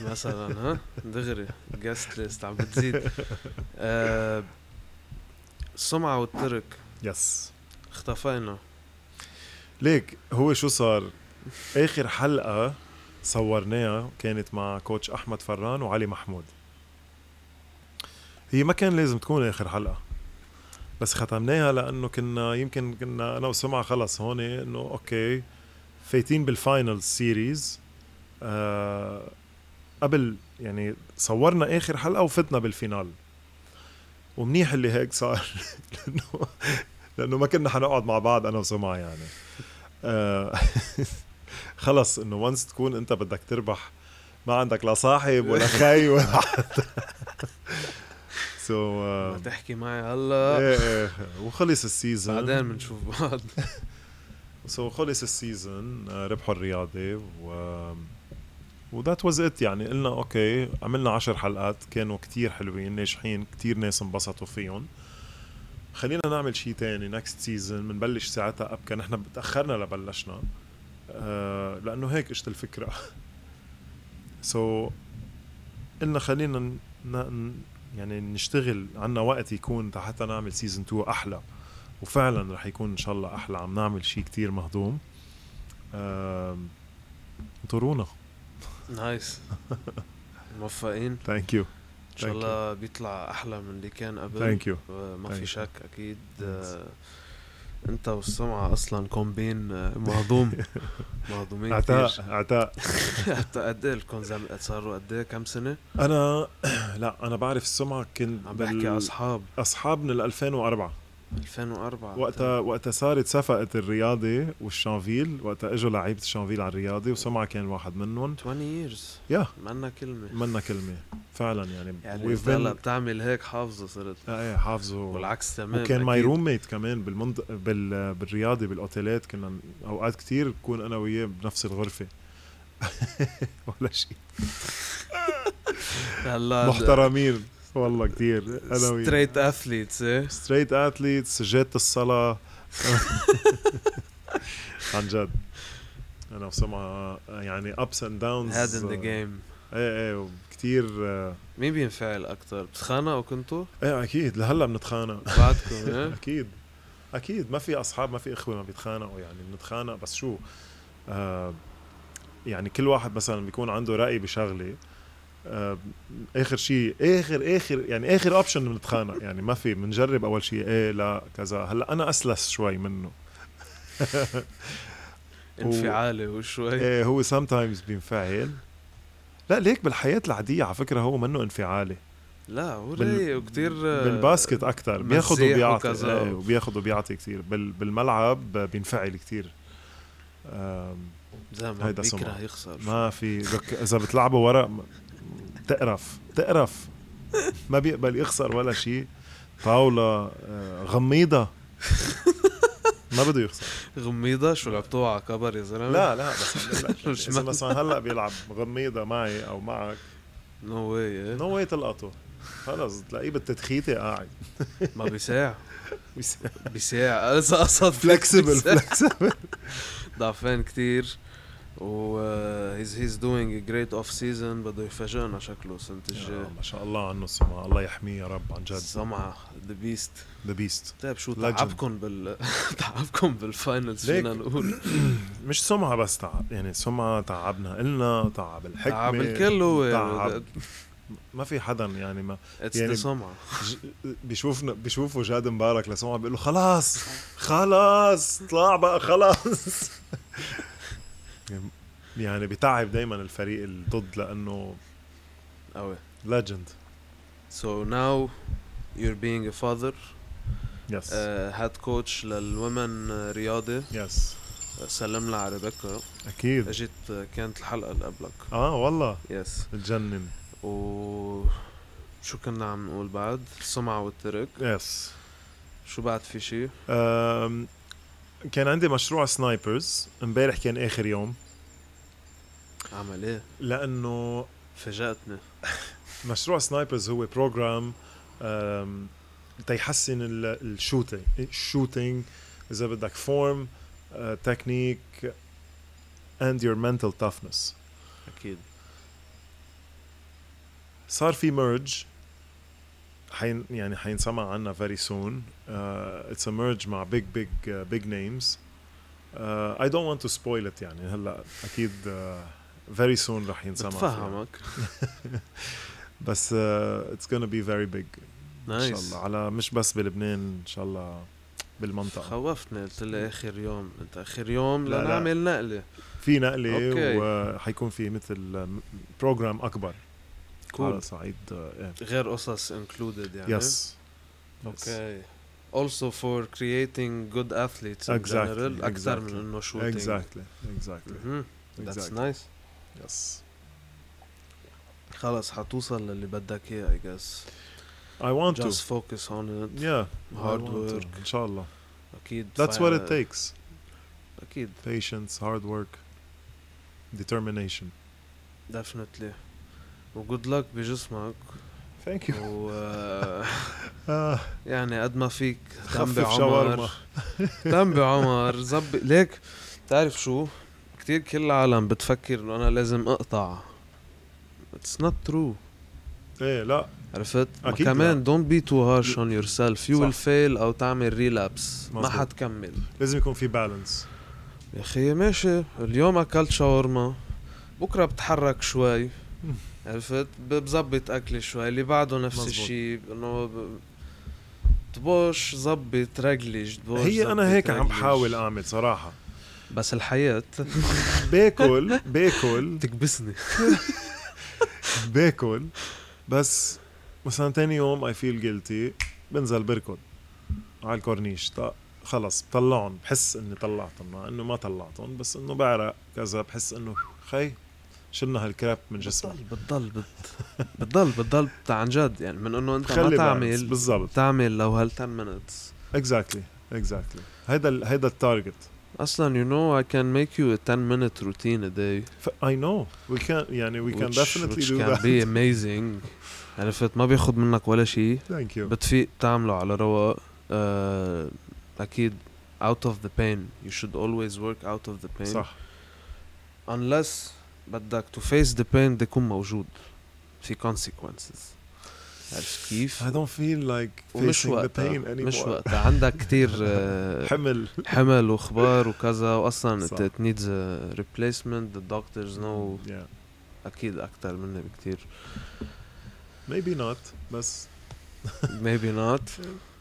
Speaker 1: مثلا ها دغري جاست ليست عم بتزيد آه، السمعة والترك
Speaker 2: يس
Speaker 1: اختفينا
Speaker 2: ليك هو شو صار اخر حلقه صورناها كانت مع كوتش احمد فران وعلي محمود هي ما كان لازم تكون اخر حلقه بس ختمناها لانه كنا يمكن كنا انا وسمعه خلص هون انه اوكي فايتين بالفاينل سيريز آه قبل يعني صورنا اخر حلقه وفتنا بالفينال ومنيح اللي هيك صار لانه لانه ما كنا حنقعد مع بعض انا وسمعه يعني آه، خلص انه وانس تكون انت بدك تربح ما عندك لا صاحب ولا خي ولا حدا آه، سو
Speaker 1: ما تحكي معي هلا
Speaker 2: ايه ايه وخلص السيزون
Speaker 1: بعدين بنشوف بعض
Speaker 2: سو خلص السيزون آه، ربحوا الرياضي و وذات واز ات يعني قلنا اوكي عملنا عشر حلقات كانوا كتير حلوين ناجحين كتير ناس انبسطوا فيهم خلينا نعمل شيء تاني نكست سيزون بنبلش ساعتها ابكى نحن تاخرنا لبلشنا آه لانه هيك اجت الفكره سو so, قلنا خلينا ن... ن... يعني نشتغل عنا وقت يكون حتى نعمل سيزون 2 احلى وفعلا رح يكون ان شاء الله احلى عم نعمل شيء كتير مهضوم آم، انطرونا
Speaker 1: نايس موفقين ان
Speaker 2: ثانك يو
Speaker 1: شاء
Speaker 2: Thank you.
Speaker 1: الله بيطلع احلى من اللي كان قبل
Speaker 2: ثانك يو
Speaker 1: آه، ما
Speaker 2: Thank
Speaker 1: في
Speaker 2: you.
Speaker 1: شك اكيد آه، انت والسمعه اصلا كومبين آه، مهضوم مهضومين
Speaker 2: عتاق
Speaker 1: كتير
Speaker 2: عتاق
Speaker 1: حتى قد ايه الكونزم صاروا قد ايه كم سنه
Speaker 2: انا لا انا بعرف السمعه كنت
Speaker 1: عم بحكي آه،
Speaker 2: بال-
Speaker 1: اصحاب
Speaker 2: اصحاب من ال 2004
Speaker 1: 2004
Speaker 2: وقتها وقتها صارت صفقه الرياضي والشانفيل وقتها اجوا لعيبه الشانفيل على الرياضي وسمعه كان واحد منهم
Speaker 1: 20 years
Speaker 2: يا
Speaker 1: منا كلمه
Speaker 2: منا كلمه فعلا يعني
Speaker 1: يعني
Speaker 2: we've
Speaker 1: انت
Speaker 2: been-
Speaker 1: هلا بتعمل هيك حافظه صرت
Speaker 2: آه، ايه حافظه
Speaker 1: والعكس تمام
Speaker 2: وكان ماي
Speaker 1: أكيد.
Speaker 2: روم ميت كمان بالمنط... بال... بالرياضي بالاوتيلات كنا ن- اوقات كتير بكون انا وياه بنفس الغرفه ولا شيء
Speaker 1: هلا
Speaker 2: محترمين والله كتير انا وياه
Speaker 1: ستريت اثليتس ايه
Speaker 2: ستريت اثليتس جات الصلاه عن جد انا وسمعه يعني ابس اند داونز
Speaker 1: هاد ان ذا جيم
Speaker 2: ايه ايه كثير
Speaker 1: مين بينفعل اكثر بتخانقوا كنتوا
Speaker 2: ايه اكيد لهلا بنتخانق
Speaker 1: بعدكم ايه
Speaker 2: اكيد اكيد ما في اصحاب ما في اخوه ما بيتخانقوا يعني بنتخانق بس شو آه يعني كل واحد مثلا بيكون عنده راي بشغله آه اخر شيء اخر اخر يعني اخر اوبشن بنتخانق يعني ما في بنجرب اول شيء ايه لا كذا هلا انا اسلس شوي منه
Speaker 1: انفعالي وشوي
Speaker 2: ايه هو سام تايمز بينفعل لا ليك بالحياه العاديه على فكره هو منه انفعالي
Speaker 1: لا هو
Speaker 2: بال-
Speaker 1: رايق وكتير آه،
Speaker 2: بالباسكت اكثر بياخذ
Speaker 1: مزيح
Speaker 2: وبيعطي
Speaker 1: وكذا.
Speaker 2: ايه وبياخذ وبيعطي كثير بال بالملعب بينفعل كثير
Speaker 1: زلمه بيكره
Speaker 2: هيدا سمعة.
Speaker 1: يخسر
Speaker 2: ما في لك اذا بتلعبه ورق م- تقرف تقرف ما بيقبل يخسر ولا شيء طاوله آه، غميضه ما بده يخسر
Speaker 1: غميضه شو لعبتوها على كبر يا زلمه
Speaker 2: لا لا بس عم بقول لك،
Speaker 1: مش
Speaker 2: إذا
Speaker 1: ما-
Speaker 2: مثلا هلا بيلعب غميضه معي او معك
Speaker 1: نو واي
Speaker 2: نو واي تلقطه خلص تلاقيه بالتدخيته قاعد
Speaker 1: ما بيساع بيساع اذا قصد
Speaker 2: فلكسبل
Speaker 1: بيساع.
Speaker 2: فلكسبل
Speaker 1: ضعفان كتير و uh, هيز هيز دوينج جريت اوف سيزون بده يفاجئنا شكله السنه الجايه
Speaker 2: آه، ما شاء الله عنه السما الله يحميه يا رب عن جد
Speaker 1: السمعه ذا بيست
Speaker 2: ذا بيست
Speaker 1: طيب شو
Speaker 2: Legend.
Speaker 1: تعبكم بال تعبكم بالفاينلز
Speaker 2: ليك.
Speaker 1: فينا نقول
Speaker 2: مش سمعه بس تعب يعني سمعه تعبنا قلنا تعب الحكمه
Speaker 1: تعب الكل هو
Speaker 2: تعب. ما في حدا يعني ما
Speaker 1: اتس ذا
Speaker 2: يعني-
Speaker 1: سمعه
Speaker 2: ج- بيشوفنا بيشوفوا جاد مبارك لسمعه بيقول له خلاص خلاص طلع بقى خلاص يعني بتعب دائما الفريق الضد لانه
Speaker 1: قوي
Speaker 2: ليجند
Speaker 1: سو ناو يور بينج ا فاذر
Speaker 2: يس
Speaker 1: آه. هاد كوتش للومن رياضي
Speaker 2: يس
Speaker 1: uh, سلم لها على ريبيكا
Speaker 2: اكيد
Speaker 1: اجت آه، كانت الحلقه اللي قبلك
Speaker 2: اه والله
Speaker 1: يس
Speaker 2: تجنن
Speaker 1: و شو كنا عم نقول بعد السمعة والترك
Speaker 2: يس
Speaker 1: شو بعد في شي
Speaker 2: أم، كان عندي مشروع سنايبرز امبارح كان اخر يوم
Speaker 1: عمل ايه
Speaker 2: لانه
Speaker 1: فاجأتني
Speaker 2: مشروع سنايبرز هو بروجرام أم، تيحسن ال- الشوتينج الشوتينج اذا بدك آه، فورم تكنيك اند يور mental toughness
Speaker 1: اكيد
Speaker 2: صار في ميرج حين يعني حينسمع عنا very soon آه، اتس ا ميرج مع big big آه، بيج نيمز اي دونت ونت تو سبويل ات يعني هلا اكيد فيري سون رح ينسمع فيها.
Speaker 1: بتفهمك
Speaker 2: بس اتس gonna بي فيري بيج ان شاء
Speaker 1: نايس
Speaker 2: الله على مش بس بلبنان ان شاء الله بالمنطقه
Speaker 1: خوفتني قلت لي اخر يوم انت اخر يوم
Speaker 2: لا، لا.
Speaker 1: لنعمل نقله
Speaker 2: في نقله
Speaker 1: أوكي.
Speaker 2: وحيكون في مثل بروجرام اكبر على
Speaker 1: كول
Speaker 2: صعيد آه،
Speaker 1: غير قصص انكلودد يعني
Speaker 2: يس
Speaker 1: اوكي also for creating good athletes in
Speaker 2: Exactly,
Speaker 1: general اكثر
Speaker 2: exactly.
Speaker 1: من انه shooting
Speaker 2: اكزاكتلي اكزاكتلي
Speaker 1: مهم. that's nice Mm-hmm.
Speaker 2: يس
Speaker 1: خلص حتوصل للي بدك اياه I guess
Speaker 2: اي ونت تو
Speaker 1: just focus on it
Speaker 2: yeah
Speaker 1: Hard
Speaker 2: I want to.
Speaker 1: work.
Speaker 2: ان شاء الله
Speaker 1: اكيد
Speaker 2: that's
Speaker 1: fi-
Speaker 2: what it takes
Speaker 1: اكيد
Speaker 2: patience hard work determination
Speaker 1: ديفنتلي وجود لك بجسمك
Speaker 2: thank you
Speaker 1: و
Speaker 2: آه،
Speaker 1: يعني قد ما فيك تم
Speaker 2: خفف
Speaker 1: بعمر
Speaker 2: شاورما
Speaker 1: تم بعمر زب ليك بتعرف شو كتير كل العالم بتفكر انه انا لازم اقطع اتس نوت ترو
Speaker 2: ايه لا
Speaker 1: عرفت ما
Speaker 2: أكيد
Speaker 1: كمان دونت بي تو هارش اون يور سيلف يو ويل
Speaker 2: صح.
Speaker 1: فيل او تعمل ريلابس ما
Speaker 2: مظبوط.
Speaker 1: حتكمل
Speaker 2: لازم يكون في بالانس
Speaker 1: يا اخي ماشي اليوم اكلت شاورما بكره بتحرك شوي عرفت ب- بظبط اكلي شوي اللي بعده نفس
Speaker 2: مزبوط.
Speaker 1: الشيء انه ب- طبوش زبط رجلي طبوش
Speaker 2: هي
Speaker 1: زبط
Speaker 2: انا هيك عم
Speaker 1: رجلي.
Speaker 2: بحاول اعمل صراحه
Speaker 1: بس الحياة
Speaker 2: باكل باكل
Speaker 1: بتكبسني
Speaker 2: باكل بس مثلا تاني يوم اي فيل جيلتي بنزل بركض على الكورنيش طق خلص بطلعهم بحس اني طلعتهم مع انه ما طلعتهم بس انه بعرق كذا بحس انه خي شلنا هالكراب من جسمي
Speaker 1: بتضل بتضل بت- بتضل بتضل بت- عن جد يعني من انه انت ما
Speaker 2: خلي بالانس،
Speaker 1: تعمل
Speaker 2: بالضبط
Speaker 1: تعمل لو هال 10 minutes
Speaker 2: اكزاكتلي اكزاكتلي هيدا ال- هيدا التارجت
Speaker 1: اصلا you know I can make you a 10 minute routine a day
Speaker 2: اي نو وي كان يعني وي كان
Speaker 1: which, which
Speaker 2: ديفينتلي دو
Speaker 1: can
Speaker 2: ذات
Speaker 1: be amazing عرفت ما بياخد منك ولا شيء
Speaker 2: ثانك يو
Speaker 1: بتفيق بتعمله على رواق آه، اكيد out of the pain you should always work out of the pain
Speaker 2: صح
Speaker 1: unless بدك to face the pain ده يكون موجود في consequences عرفت كيف؟
Speaker 2: I don't feel like
Speaker 1: ومش
Speaker 2: facing the
Speaker 1: وقتها
Speaker 2: pain anymore
Speaker 1: مش وقتها عندك كتير آه،
Speaker 2: حمل
Speaker 1: حمل واخبار وكذا واصلا
Speaker 2: صح.
Speaker 1: it, it needs a replacement the doctors know
Speaker 2: yeah
Speaker 1: اكيد اكتر مني بكتير
Speaker 2: maybe not بس
Speaker 1: maybe not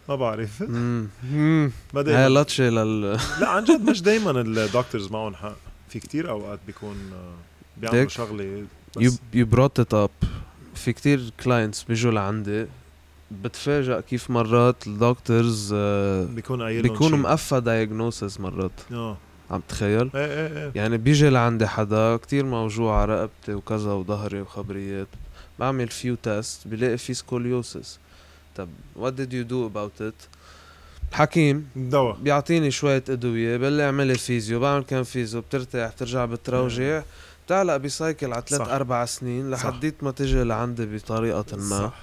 Speaker 2: ما بعرف
Speaker 1: مم. مم.
Speaker 2: ما
Speaker 1: هاي
Speaker 2: دايما
Speaker 1: لطشه لل
Speaker 2: لا عن جد مش دايما الدكتورز معهم حق في كتير اوقات بيكون آه، بيعملوا
Speaker 1: ديك.
Speaker 2: شغله
Speaker 1: you,
Speaker 2: بس
Speaker 1: you brought it up في كتير كلاينتس بيجوا لعندي بتفاجئ كيف مرات الدكتورز
Speaker 2: بيكون قايل
Speaker 1: بيكونوا مقفى دايجنوسس مرات
Speaker 2: اه
Speaker 1: عم تخيل
Speaker 2: ايه ايه ايه
Speaker 1: يعني بيجي لعندي حدا كتير موجوع على رقبتي وكذا وظهري وخبريات بعمل فيو تيست بلاقي في سكوليوسس طب what did you do about it حكيم
Speaker 2: دواء
Speaker 1: بيعطيني شوية أدوية بقول لي اعملي فيزيو بعمل كم فيزيو بترتاح بترجع بتروجع بتعلق بسايكل على ثلاث
Speaker 2: صح.
Speaker 1: أربع سنين
Speaker 2: صح.
Speaker 1: لحديت ما تجي لعندي بطريقة ما
Speaker 2: صح.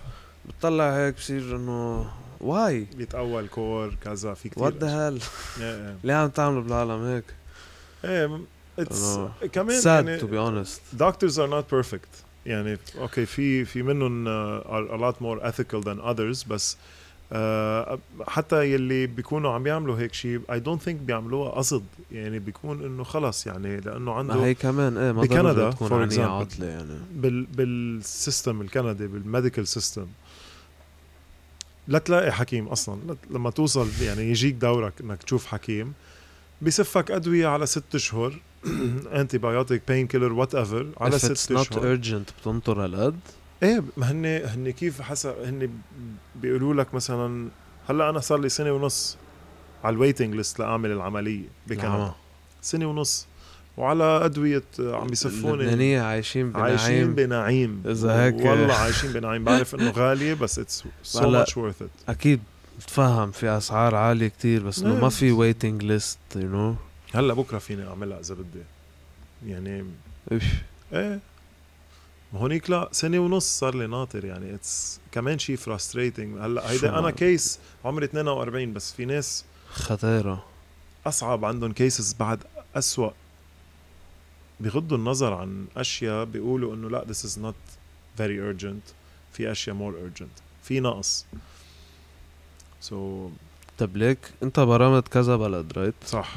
Speaker 1: بتطلع هيك بصير إنه واي
Speaker 2: بيتقوى الكور كذا في كتير
Speaker 1: وات ذا هيل
Speaker 2: ايه ايه
Speaker 1: ليه عم تعملوا بالعالم هيك؟
Speaker 2: ايه م- it's
Speaker 1: أنا
Speaker 2: كمان
Speaker 1: sad to
Speaker 2: يعني
Speaker 1: be honest
Speaker 2: doctors are not perfect يعني اوكي في في منهم uh, are a lot more ethical than others بس uh, حتى يلي بيكونوا عم يعملوا هيك شيء I don't think بيعملوها قصد يعني بيكون انه خلص يعني لانه
Speaker 1: ما
Speaker 2: عنده
Speaker 1: هي كمان ايه ما
Speaker 2: بكندا،
Speaker 1: ضروري تكون
Speaker 2: for
Speaker 1: عنية
Speaker 2: example.
Speaker 1: عطلة يعني
Speaker 2: بال بالسيستم الكندي بالميديكال سيستم لا تلاقي حكيم اصلا لا- لما توصل يعني يجيك دورك انك تشوف حكيم بيصفك ادويه على ست اشهر انتي بايوتيك بين كيلر وات ايفر على
Speaker 1: If it's
Speaker 2: ست
Speaker 1: not
Speaker 2: اشهر
Speaker 1: urgent بتنطر هالقد
Speaker 2: ايه ما هن هن كيف حسب هن بيقولوا لك مثلا هلا انا صار لي سنه ونص على الويتنج ليست لاعمل العمليه بكندا
Speaker 1: نعم.
Speaker 2: سنه ونص وعلى ادويه عم يصفوني
Speaker 1: اللبنانية عايشين بنعيم
Speaker 2: عايشين بنعيم
Speaker 1: إذا هيك-
Speaker 2: والله عايشين بنعيم بعرف انه غاليه بس اتس سو
Speaker 1: هلا-
Speaker 2: ماتش ورث ات
Speaker 1: اكيد بتفهم في اسعار عالية كتير بس انه
Speaker 2: إيه.
Speaker 1: ما في waiting list you know
Speaker 2: هلا بكره فيني اعملها اذا بدي يعني
Speaker 1: إف.
Speaker 2: ايه هونيك لا سنه ونص صار لي ناطر يعني اتس كمان شيء فراستريتنج هلا
Speaker 1: شو
Speaker 2: هيدا انا
Speaker 1: ما-
Speaker 2: كيس عمري 42 بس في ناس
Speaker 1: خطيرة
Speaker 2: اصعب عندهم كيسز بعد اسوا بغضوا النظر عن اشياء بيقولوا انه لا this is not very urgent في اشياء more urgent في نقص سو
Speaker 1: طب ليك انت برمت كذا بلد رايت
Speaker 2: so, صح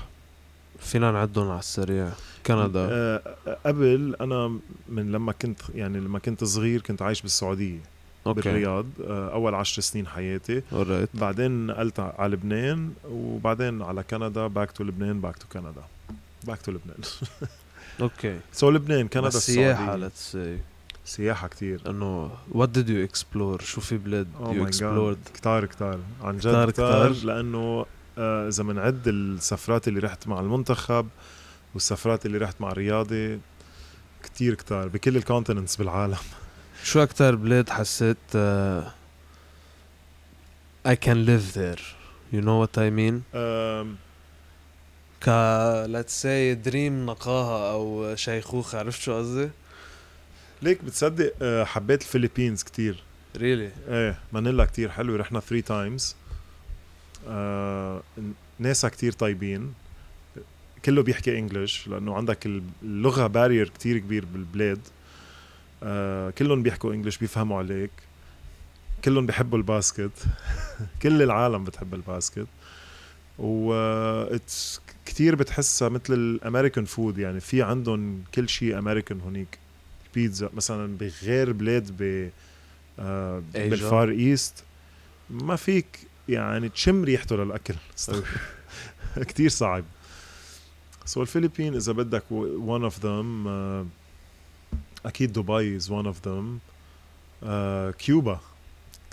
Speaker 1: فينا نعدهم على السريع كندا
Speaker 2: آه قبل انا من لما كنت يعني لما كنت صغير كنت عايش بالسعوديه
Speaker 1: اوكي
Speaker 2: بالرياض آه اول عشر سنين حياتي
Speaker 1: alright
Speaker 2: بعدين نقلت على لبنان وبعدين على كندا باك تو لبنان باك تو كندا باك تو لبنان
Speaker 1: اوكي
Speaker 2: سو لبنان كندا
Speaker 1: السياحة let's
Speaker 2: السعوديه
Speaker 1: say
Speaker 2: سياحه كتير
Speaker 1: انه what did you explore شو في بلاد
Speaker 2: Oh
Speaker 1: you
Speaker 2: my God.
Speaker 1: explored
Speaker 2: كتار كتار عن جد
Speaker 1: كتار
Speaker 2: كتار,
Speaker 1: كتار.
Speaker 2: كتار. لانه آه، اذا بنعد السفرات اللي رحت مع المنتخب والسفرات اللي رحت مع الرياضي كتير كتار بكل الكونتيننتس بالعالم
Speaker 1: شو اكتر بلاد حسيت آه، I can live there you know what I mean
Speaker 2: آم،
Speaker 1: ك let's say دريم نقاهة أو شيخوخة عرفت شو قصدي؟
Speaker 2: ليك بتصدق آه، حبيت الفلبينز كتير
Speaker 1: ريلي
Speaker 2: ايه مانيلا كتير حلوه رحنا 3 تايمز ناسا كتير طيبين كله بيحكي انجلش لانه عندك اللغه بارير كتير كبير بالبلاد آه، كلهم بيحكوا انجلش بيفهموا عليك كلهم بيحبوا الباسكت كل العالم بتحب الباسكت و آه، it's كتير بتحسها مثل الامريكان فود يعني في عندهم كل شيء امريكان هونيك بيتزا مثلا بغير بلاد ب آه،
Speaker 1: Asia.
Speaker 2: بالفار ايست ما فيك يعني تشم ريحته للاكل كتير صعب سو الفلبين اذا بدك one of them uh, اكيد دبي is one of them uh, كيوبا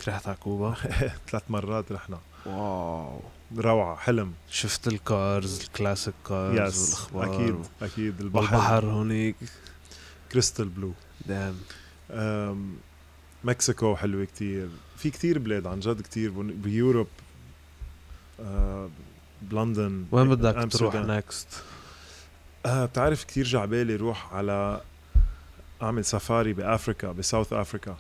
Speaker 1: رحت على كوبا
Speaker 2: ثلاث مرات رحنا
Speaker 1: واو
Speaker 2: روعه حلم
Speaker 1: شفت الكارز الكلاسيك كارز
Speaker 2: يس
Speaker 1: والاخبار
Speaker 2: اكيد اكيد البحر
Speaker 1: آه، والبحر هونيك
Speaker 2: كريستال بلو
Speaker 1: دام
Speaker 2: أم، مكسيكو حلوة كتير في كتير بلاد عن جد كتير بن- بيوروب أه، بلندن
Speaker 1: وين بدك
Speaker 2: أمستردام.
Speaker 1: تروح نكست
Speaker 2: آه بتعرف كتير جعبالي روح على اعمل سفاري بافريكا بساوث افريكا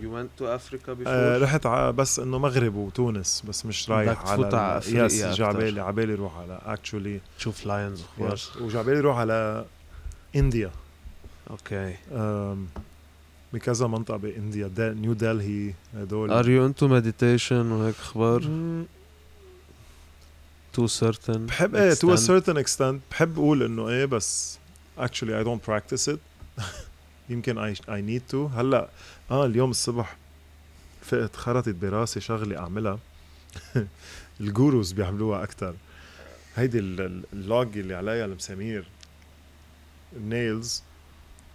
Speaker 1: يو ونت تو افريكا
Speaker 2: آه رحت ع... بس انه مغرب وتونس بس مش
Speaker 1: بدك
Speaker 2: رايح على
Speaker 1: تفوت على أفريقيا
Speaker 2: يس
Speaker 1: أكتر.
Speaker 2: جعبالي عبالي روح على اكشولي
Speaker 1: تشوف لاينز اخبار
Speaker 2: وجعبالي روح على انديا
Speaker 1: اوكي
Speaker 2: آم، بكذا منطقه بانديا دل... نيو دلهي هدول
Speaker 1: ار يو انتو مديتيشن وهيك اخبار
Speaker 2: مم،
Speaker 1: تو سيرتن
Speaker 2: بحب ايه to a certain extent بحب اقول انه ايه بس actually I don't practice it يمكن I, I need to هلا اه اليوم الصبح فقت خرطت براسي شغله اعملها الجوروز بيعملوها اكثر هيدي ال- ال- اللوج اللي عليها المسامير النيلز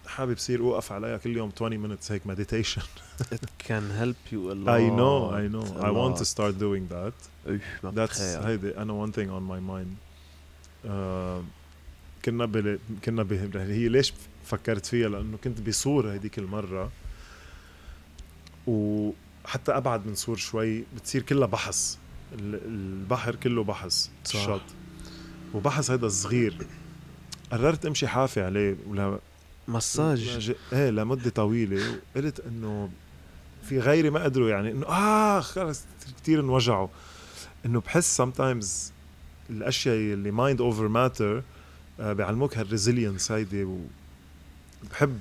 Speaker 2: حابب صير اوقف عليها كل يوم 20 minutes هيك meditation
Speaker 1: كان هيلب يو
Speaker 2: I know I know I want to start doing that That's هيدي انا one thing on my mind آه، كنا بل... كنا ب... هي ليش فكرت فيها لانه كنت بصور هيديك المره وحتى ابعد من صور شوي بتصير كلها بحث ال- البحر كله بحث
Speaker 1: صح.
Speaker 2: الشط وبحث هيدا الصغير قررت امشي حافي عليه ولا
Speaker 1: مساج
Speaker 2: لج- ايه لمده طويله وقلت انه في غيري ما قدروا يعني انه اه خلص كثير انوجعوا انه بحس sometimes الاشياء اللي مايند اوفر ماتر آه، بيعلموك هالريزيلينس هيدي وبحب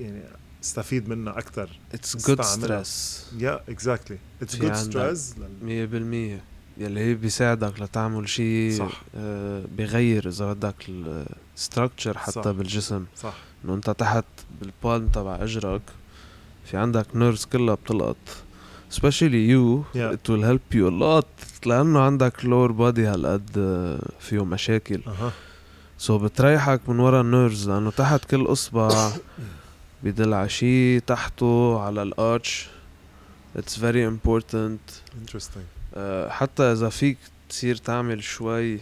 Speaker 2: يعني استفيد منها اكثر
Speaker 1: اتس جود
Speaker 2: استعملها.
Speaker 1: ستريس
Speaker 2: يا اكزاكتلي اتس
Speaker 1: في
Speaker 2: جود
Speaker 1: عندك-
Speaker 2: ستريس
Speaker 1: 100% يلي هي بيساعدك لتعمل شيء
Speaker 2: صح.
Speaker 1: آه بغير اذا بدك الستركتشر حتى
Speaker 2: صح.
Speaker 1: بالجسم
Speaker 2: صح
Speaker 1: انه انت تحت بالبالم تبع اجرك في عندك نيرفز كلها بتلقط especially you
Speaker 2: Yeah.
Speaker 1: it will help you a lot لانه عندك lower body هالقد آه، فيه مشاكل
Speaker 2: اها
Speaker 1: سو بتريحك من ورا النيرفز لانه تحت كل اصبع بدل على شي تحته على الارتش اتس فيري امبورتنت
Speaker 2: انترستينج
Speaker 1: آه، حتى اذا فيك تصير تعمل شوي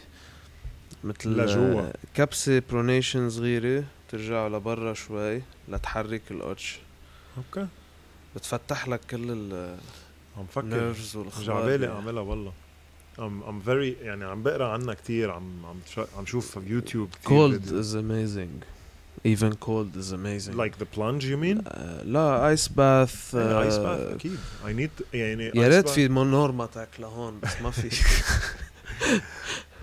Speaker 1: مثل
Speaker 2: لجوا.
Speaker 1: آه، كبسه برونيشن صغيره ترجع لبرا شوي لتحرك الارتش
Speaker 2: اوكي
Speaker 1: بتفتح لك كل آه،
Speaker 2: عم فكر
Speaker 1: النيرفز والاخبار
Speaker 2: جعبالي اعملها والله ام ام فيري يعني عم بقرا عنها كثير عم عم شا- عم شوف في يوتيوب كثير
Speaker 1: cold is amazing even cold is amazing
Speaker 2: Like the plunge you mean?
Speaker 1: آه، لا ايس باث
Speaker 2: Uh, ice bath اكيد I need يعني
Speaker 1: يا
Speaker 2: ice
Speaker 1: ريت
Speaker 2: bath.
Speaker 1: في مو- نورما تاك لهون بس ما في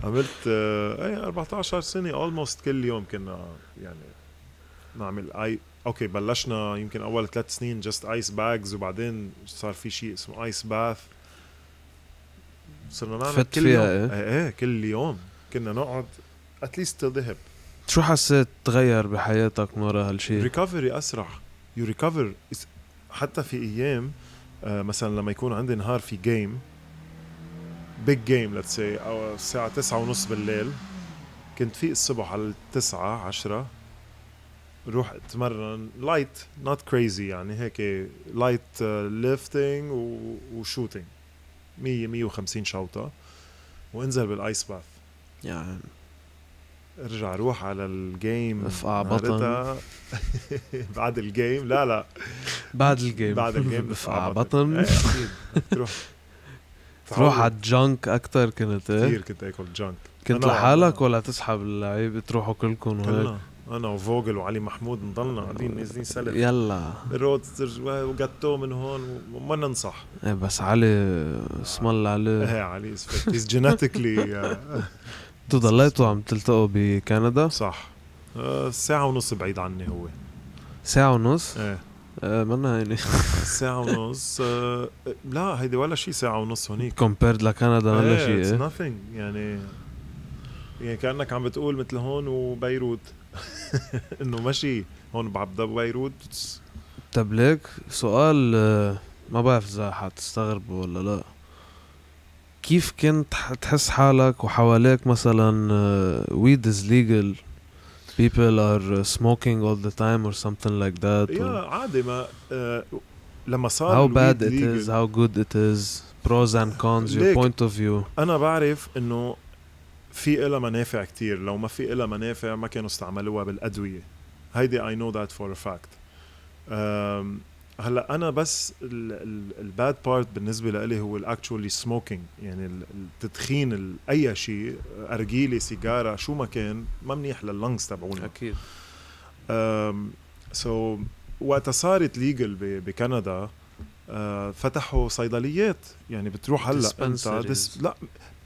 Speaker 2: عملت آه، اي 14 سنة almost كل يوم كنا يعني نعمل اي اوكي بلشنا يمكن اول ثلاث سنين just ice bags وبعدين صار في شيء اسمه ice bath صرنا نعمل
Speaker 1: فت
Speaker 2: كل
Speaker 1: فيها إيه؟
Speaker 2: يوم ايه ايه كل يوم كنا نقعد at least till ذهب
Speaker 1: شو حسيت تغير بحياتك من ورا هالشيء؟
Speaker 2: ريكفري اسرع يو ريكفر حتى في ايام آه، مثلا لما يكون عندي نهار في جيم بيج جيم ليتس سي او الساعه 9 ونص بالليل كنت في الصبح على 9 10 روح اتمرن لايت نوت كريزي يعني هيك آه، لايت ليفتنج وشوتينج 100 150 شوطه وانزل بالايس باث
Speaker 1: يعني
Speaker 2: ارجع روح على الجيم
Speaker 1: افقع آه بطن.
Speaker 2: نهارتها. بعد الجيم لا لا
Speaker 1: بعد الجيم
Speaker 2: بعد الجيم
Speaker 1: بفقع آه بطن
Speaker 2: تروح
Speaker 1: تروح على الجنك اكثر كنت
Speaker 2: كثير
Speaker 1: ايه؟
Speaker 2: كنت اكل جنك
Speaker 1: كنت
Speaker 2: أنا-
Speaker 1: لحالك ولا تسحب اللعيبه تروحوا كلكم وهيك؟
Speaker 2: كلنا انا وفوغل وعلي محمود نضلنا قاعدين نازلين سلف
Speaker 1: يلا
Speaker 2: رود وجاتو من هون وما ننصح
Speaker 1: ايه بس علي اسم الله علي
Speaker 2: ايه علي هيز جينيتيكلي
Speaker 1: انتوا ضليتوا عم تلتقوا بكندا
Speaker 2: صح آه، ساعة ونص بعيد عني هو
Speaker 1: ساعة ونص
Speaker 2: ايه
Speaker 1: آه، منا يعني
Speaker 2: ساعة ونص آه، لا هيدي ولا شيء ساعة ونص هونيك
Speaker 1: كومبيرد لكندا ولا
Speaker 2: ايه
Speaker 1: شيء
Speaker 2: اتس
Speaker 1: ايه؟
Speaker 2: nothing يعني يعني كانك عم بتقول مثل هون وبيروت انه ماشي هون بعبدا ببيروت
Speaker 1: طب أه، ليك سؤال آه، ما بعرف اذا حتستغربوا ولا لا كيف كنت ح- تحس حالك وحواليك أه، مثلا ويد از ليجل people are smoking all the time or something like that
Speaker 2: يا
Speaker 1: or
Speaker 2: عادي ما آه لما صار
Speaker 1: how
Speaker 2: الweed
Speaker 1: bad it
Speaker 2: legal-
Speaker 1: is how good it is pros and cons your
Speaker 2: ليك.
Speaker 1: point of view
Speaker 2: انا بعرف انه في إلها منافع كتير لو ما في إلها منافع ما كانوا استعملوها بالادويه هيدي اي نو ذات فور ا فاكت هلا انا بس الباد بارت بالنسبه لإلي هو الاكشولي سموكينج يعني ال- التدخين ال- اي شيء ارجيله سيجاره شو ما كان ما منيح لللنجز تبعونا
Speaker 1: اكيد
Speaker 2: سو وقتها Um, صارت ليجل بكندا آه، فتحوا صيدليات يعني بتروح هلا انت
Speaker 1: Dispensaries.
Speaker 2: دس- لا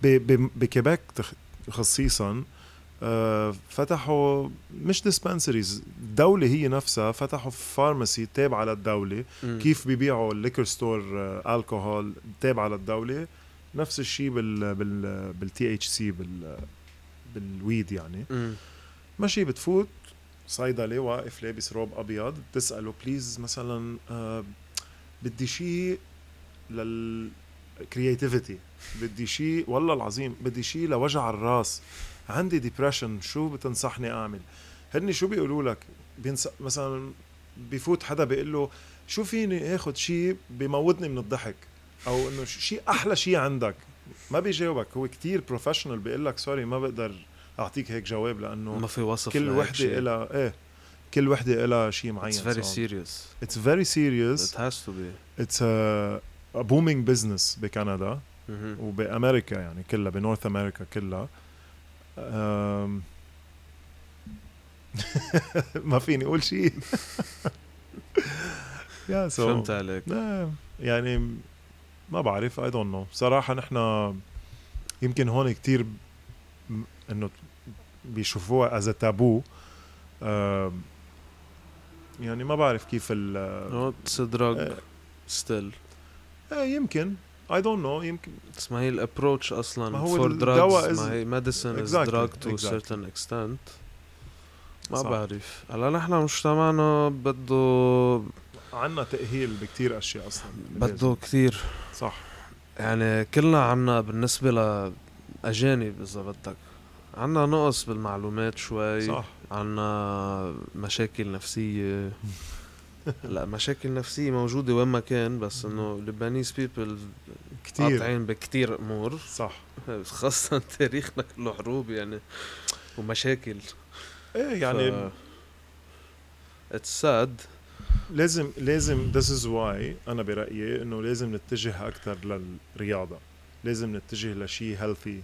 Speaker 2: ب- ب- بكيبك تخ- خصيصا آه، فتحوا مش ديسبنسريز الدولة هي نفسها فتحوا فارماسي تابعة للدولة كيف بيبيعوا الليكر ستور آه، الكحول تابعة للدولة نفس الشيء بال بال بالتي اتش سي بال بالويد يعني ماشي بتفوت صيدلي واقف لابس روب ابيض بتساله بليز مثلا آه، بدي شيء للكرياتيفيتي بدي شيء والله العظيم بدي شيء لوجع الراس عندي ديبرشن شو بتنصحني اعمل هن شو بيقولوا لك بينس... مثلا بفوت حدا بيقول له شو فيني اخذ شيء بموتني من الضحك او انه شيء احلى شيء عندك ما بيجاوبك هو كتير بروفيشنال بيقول لك سوري ما بقدر اعطيك هيك جواب لانه
Speaker 1: ما في وصف
Speaker 2: كل وحده لها ايه كل وحده لها شيء معين
Speaker 1: It's very serious.
Speaker 2: اتس فيري
Speaker 1: It
Speaker 2: سيريس
Speaker 1: has to be.
Speaker 2: اتس بومينج بزنس بكندا
Speaker 1: مهم.
Speaker 2: وبامريكا يعني كلها بنورث امريكا كلها أم، ما فيني اقول شيء يا سو
Speaker 1: فهمت عليك.
Speaker 2: يعني ما بعرف اي دونت نو صراحه نحن يمكن هون كتير م- انه بيشوفوها از تابو أم، يعني ما بعرف كيف ال
Speaker 1: No, it's a drug
Speaker 2: إيه.
Speaker 1: still.
Speaker 2: إيه، يمكن اي دونت نو يمكن
Speaker 1: اسمها هي الابروتش اصلا
Speaker 2: ما هو
Speaker 1: for
Speaker 2: الدواء
Speaker 1: drugs
Speaker 2: is-
Speaker 1: ما هي medicine is
Speaker 2: Exactly,
Speaker 1: drug to a
Speaker 2: exactly.
Speaker 1: certain extent. ما
Speaker 2: صح.
Speaker 1: بعرف هلا نحن مجتمعنا بده
Speaker 2: عنا تاهيل بكتير اشياء اصلا
Speaker 1: بده كثير
Speaker 2: صح
Speaker 1: يعني كلنا عنا بالنسبة لأجانب إذا بدك عنا نقص بالمعلومات شوي
Speaker 2: صح
Speaker 1: عنا مشاكل نفسية لا مشاكل نفسية موجودة وين ما كان بس انه لبنانيز بيبل
Speaker 2: كتير
Speaker 1: قاطعين بكتير امور
Speaker 2: صح
Speaker 1: خاصة تاريخنا كله حروب يعني ومشاكل
Speaker 2: ايه يعني ف...
Speaker 1: اتس ساد
Speaker 2: لازم لازم this is why انا برايي انه لازم نتجه اكثر للرياضه لازم نتجه لشيء هيلثي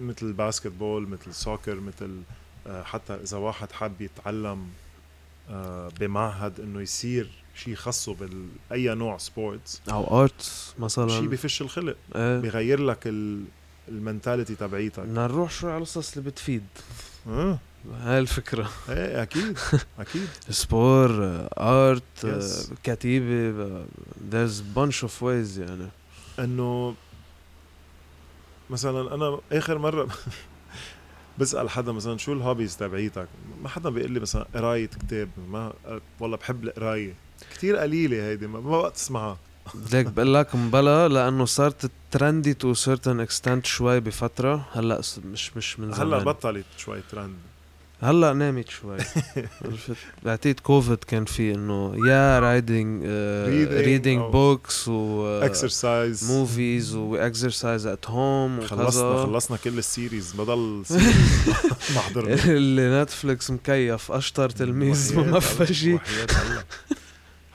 Speaker 2: مثل الباسكت بول مثل السوكر مثل آه، حتى اذا واحد حب يتعلم آه، بمعهد انه يصير شيء خاصه باي نوع سبورتس
Speaker 1: او ارتس
Speaker 2: شيء
Speaker 1: مثلا
Speaker 2: بفش الخلق
Speaker 1: إيه.
Speaker 2: بغير لك ال- المنتاليتي تبعيتك
Speaker 1: بدنا نروح شو على القصص اللي بتفيد
Speaker 2: اه
Speaker 1: هاي الفكرة
Speaker 2: ايه اكيد اكيد
Speaker 1: سبور ارت
Speaker 2: Yes.
Speaker 1: كتيبة آه، there's bunch of ways يعني
Speaker 2: انه مثلا انا اخر مره بسال حدا مثلا شو الهوبيز تبعيتك ما حدا بيقول لي مثلا قرايه كتاب ما والله بحب القرايه كتير قليله هيدي ما, ما وقت تسمعها
Speaker 1: بدك بقول لك مبلا لانه صارت ترندي تو سيرتن اكستنت شوي بفتره هلا س- مش مش من زمان
Speaker 2: هلا بطلت شوي ترند
Speaker 1: هلا نامت شوي عرفت بعتقد كوفيد كان في انه يا رايدنج
Speaker 2: Reading oh.
Speaker 1: ريدنج
Speaker 2: أو
Speaker 1: بوكس uh، و
Speaker 2: اكسرسايز
Speaker 1: موفيز واكسرسايز ات هوم
Speaker 2: خلصنا خلصنا كل السيريز بضل سيريز محضر
Speaker 1: اللي نتفليكس مكيف اشطر تلميذ ما في شيء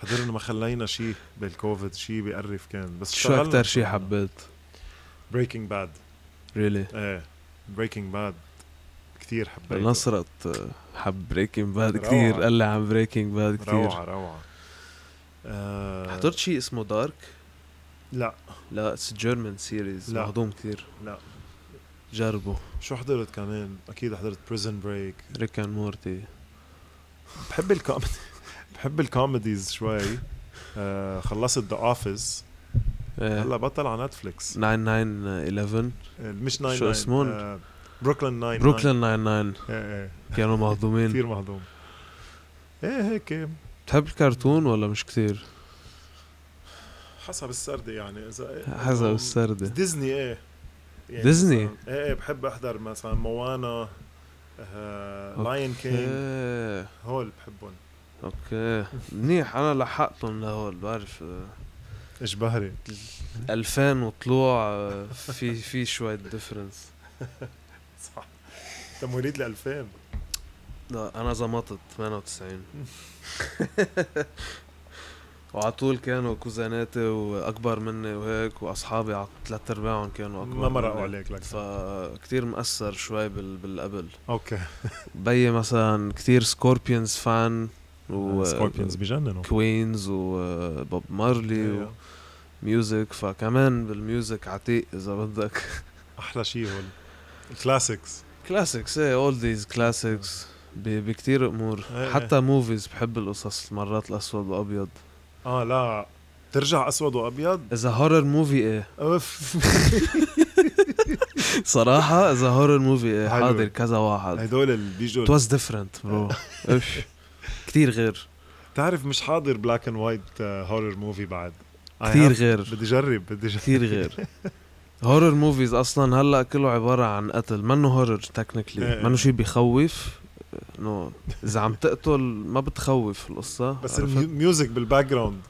Speaker 2: حضرنا ما خلينا شيء بالكوفيد شيء بيقرف كان بس
Speaker 1: شو اكثر شيء حبيت
Speaker 2: بريكنج باد
Speaker 1: ريلي
Speaker 2: ايه بريكنج باد كثير حبيته
Speaker 1: نصرت آه، حب بريكنج باد
Speaker 2: روعة.
Speaker 1: كثير قال لي عن بريكنج باد كثير
Speaker 2: روعة روعة آه
Speaker 1: حضرت شيء اسمه دارك
Speaker 2: لا
Speaker 1: لا اتس جيرمان سيريز
Speaker 2: لا.
Speaker 1: مهضوم كثير
Speaker 2: لا
Speaker 1: جربه
Speaker 2: شو حضرت كمان اكيد حضرت بريزن بريك
Speaker 1: ريك اند مورتي
Speaker 2: بحب الكوميدي بحب الكوميديز شوي آه خلصت ذا اوفيس
Speaker 1: آه، إيه.
Speaker 2: هلا بطل على نتفليكس
Speaker 1: 9911
Speaker 2: آه، مش ناين
Speaker 1: شو اسمه؟
Speaker 2: بروكلين ناين
Speaker 1: بروكلين 99
Speaker 2: ايه
Speaker 1: كانوا مهضومين
Speaker 2: كثير مهضوم ايه هيك
Speaker 1: بتحب الكرتون ولا مش كثير؟
Speaker 2: حسب السردة يعني اذا
Speaker 1: حسب السردة
Speaker 2: ديزني ايه يعني
Speaker 1: ديزني؟
Speaker 2: مثلاً- ايه ايه بحب احضر مثلا موانا آه لاين كينج
Speaker 1: ايه
Speaker 2: هول بحبهم
Speaker 1: اوكي منيح انا لحقتهم لهول بعرف آه،
Speaker 2: اشبهري
Speaker 1: 2000 وطلوع آه، في في شوية ديفرنس
Speaker 2: صح انت مواليد ل 2000
Speaker 1: لا انا زمطت 98 وعلى طول كانوا كوزاناتي واكبر مني وهيك واصحابي على ثلاث ارباعهم كانوا اكبر
Speaker 2: ما مرقوا
Speaker 1: مني.
Speaker 2: عليك لك
Speaker 1: فكتير مأثر شوي بال... بالقبل
Speaker 2: اوكي
Speaker 1: بي مثلا كتير سكوربيونز فان
Speaker 2: آه،
Speaker 1: و
Speaker 2: سكوربيونز بجننوا
Speaker 1: كوينز وبوب مارلي
Speaker 2: إيه.
Speaker 1: وميوزك فكمان بالميوزك عتيق اذا بدك
Speaker 2: احلى شيء هول الكلاسيكس
Speaker 1: كلاسيكس ايه اولديز كلاسيكس بكتير امور
Speaker 2: إيه.
Speaker 1: حتى موفيز بحب القصص مرات الاسود والابيض
Speaker 2: اه لا ترجع اسود وابيض
Speaker 1: اذا هورر موفي ايه
Speaker 2: اوف
Speaker 1: صراحه اذا هورر موفي ايه
Speaker 2: حلو. إيه.
Speaker 1: حاضر كذا واحد
Speaker 2: هدول اللي بيجوا
Speaker 1: ات واز ديفرنت برو اف كتير غير
Speaker 2: تعرف مش حاضر بلاك اند وايت هورر موفي آه، بعد I
Speaker 1: كتير
Speaker 2: have-
Speaker 1: غير
Speaker 2: بدي جرب بدي جرب
Speaker 1: كتير غير هورر موفيز اصلا هلا كله عباره عن قتل منه هورر تكنيكلي
Speaker 2: إيه.
Speaker 1: منه شيء بيخوف نو اذا عم تقتل ما بتخوف القصه
Speaker 2: بس
Speaker 1: عرفت؟
Speaker 2: الميوزك بالباك جراوند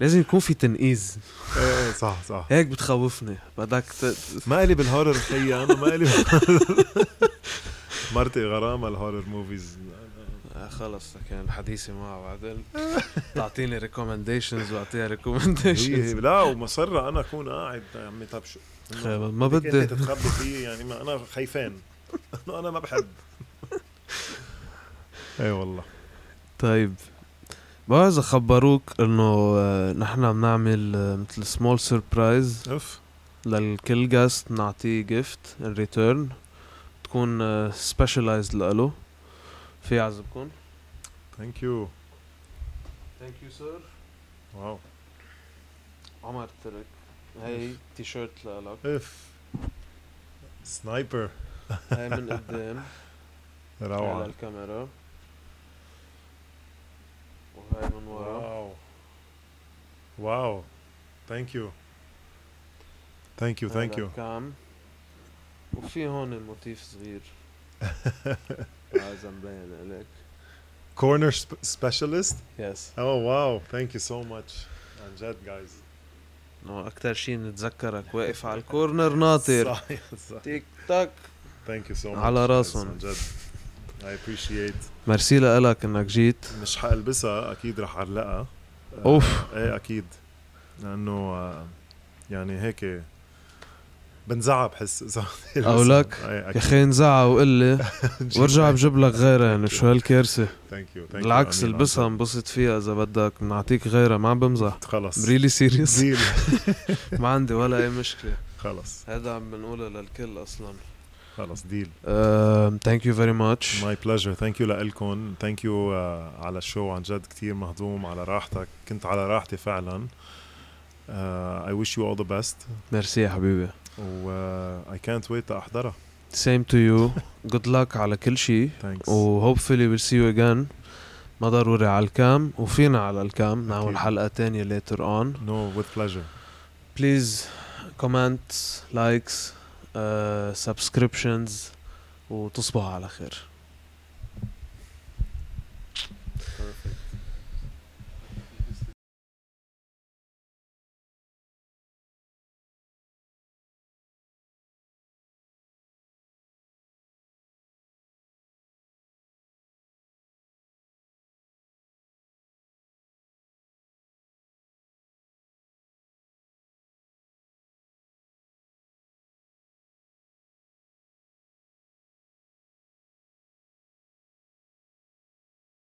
Speaker 1: لازم يكون في تنقيز
Speaker 2: ايه إيه، صح صح
Speaker 1: هيك بتخوفني بدك ت-
Speaker 2: ما إلي بالهورر خيي انا ما إلي مرتي غرامة الهورر موفيز
Speaker 1: آه خلص كان حديثي معه بعدين تعطيني ريكومنديشنز واعطيها ريكومنديشنز
Speaker 2: لا ومصرة انا اكون قاعد يا عمي طبشو
Speaker 1: ما
Speaker 2: هيك
Speaker 1: بدي
Speaker 2: انت تتخبي فيه يعني ما انا خايفان إنه انا ما بحب ايه والله
Speaker 1: طيب ما اذا خبروك انه آه، نحن بنعمل آه، مثل سمول سربرايز
Speaker 2: اوف
Speaker 1: للكل جاست نعطيه جيفت ان ريتيرن تكون سبيشلايزد لإله في عزبكم
Speaker 2: ثانك يو
Speaker 1: ثانك يو سير
Speaker 2: واو
Speaker 1: عمر ترك هي تي شيرت لإلك
Speaker 2: اف سنايبر
Speaker 1: هي من قدام على
Speaker 2: روعة
Speaker 1: الكاميرا وهي من ورا
Speaker 2: واو واو ثانك يو ثانك يو ثانك
Speaker 1: هيدا
Speaker 2: يو
Speaker 1: الكام وفي هون الموتيف صغير اذا مبين عليك
Speaker 2: كورنر سبيشالست
Speaker 1: يس
Speaker 2: اوه واو ثانك يو سو ماتش عن جد جايز
Speaker 1: نو اكثر شيء بنتذكرك واقف على الكورنر ناطر
Speaker 2: صح صح
Speaker 1: تيك تاك
Speaker 2: ثانك يو سو ماتش
Speaker 1: على راسهم.
Speaker 2: عن جد اي ابريشيت
Speaker 1: ميرسي لك انك جيت
Speaker 2: مش حلبسها اكيد رح علقها آه،
Speaker 1: أوف.
Speaker 2: ايه اكيد لانه آه، يعني هيك بنزعب إيه، بحس اذا
Speaker 1: أو لك.
Speaker 2: يا
Speaker 1: يا اخي انزعها وقول لي وارجع بجيب لك غيرها يعني شو هالكارثه
Speaker 2: ثانك يو
Speaker 1: بالعكس البسها انبسط فيها اذا بدك بنعطيك غيرها ما عم بمزح
Speaker 2: خلص
Speaker 1: ريلي سيريس
Speaker 2: ديل
Speaker 1: ما عندي ولا اي مشكله
Speaker 2: خلص
Speaker 1: هذا عم بنقولها للكل اصلا
Speaker 2: خلص ديل
Speaker 1: ثانك يو فيري ماتش
Speaker 2: ماي بليجر ثانك يو لكم ثانك يو uh, على الشو عن جد كثير مهضوم على راحتك كنت على راحتي Uh, فعلا اي ويش يو اول ذا بيست
Speaker 1: ميرسي يا حبيبي
Speaker 2: و uh, اي كانت ويت احضرها
Speaker 1: سيم تو يو جود لك على كل شيء
Speaker 2: ثانكس
Speaker 1: وهوبفلي ويل سي يو اجين ما ضروري على الكام وفينا على الكام نعمل
Speaker 2: أكيد.
Speaker 1: حلقه تانية ليتر اون
Speaker 2: نو وذ بليجر
Speaker 1: بليز كومنت لايكس سبسكريبشنز آه، وتصبحوا على خير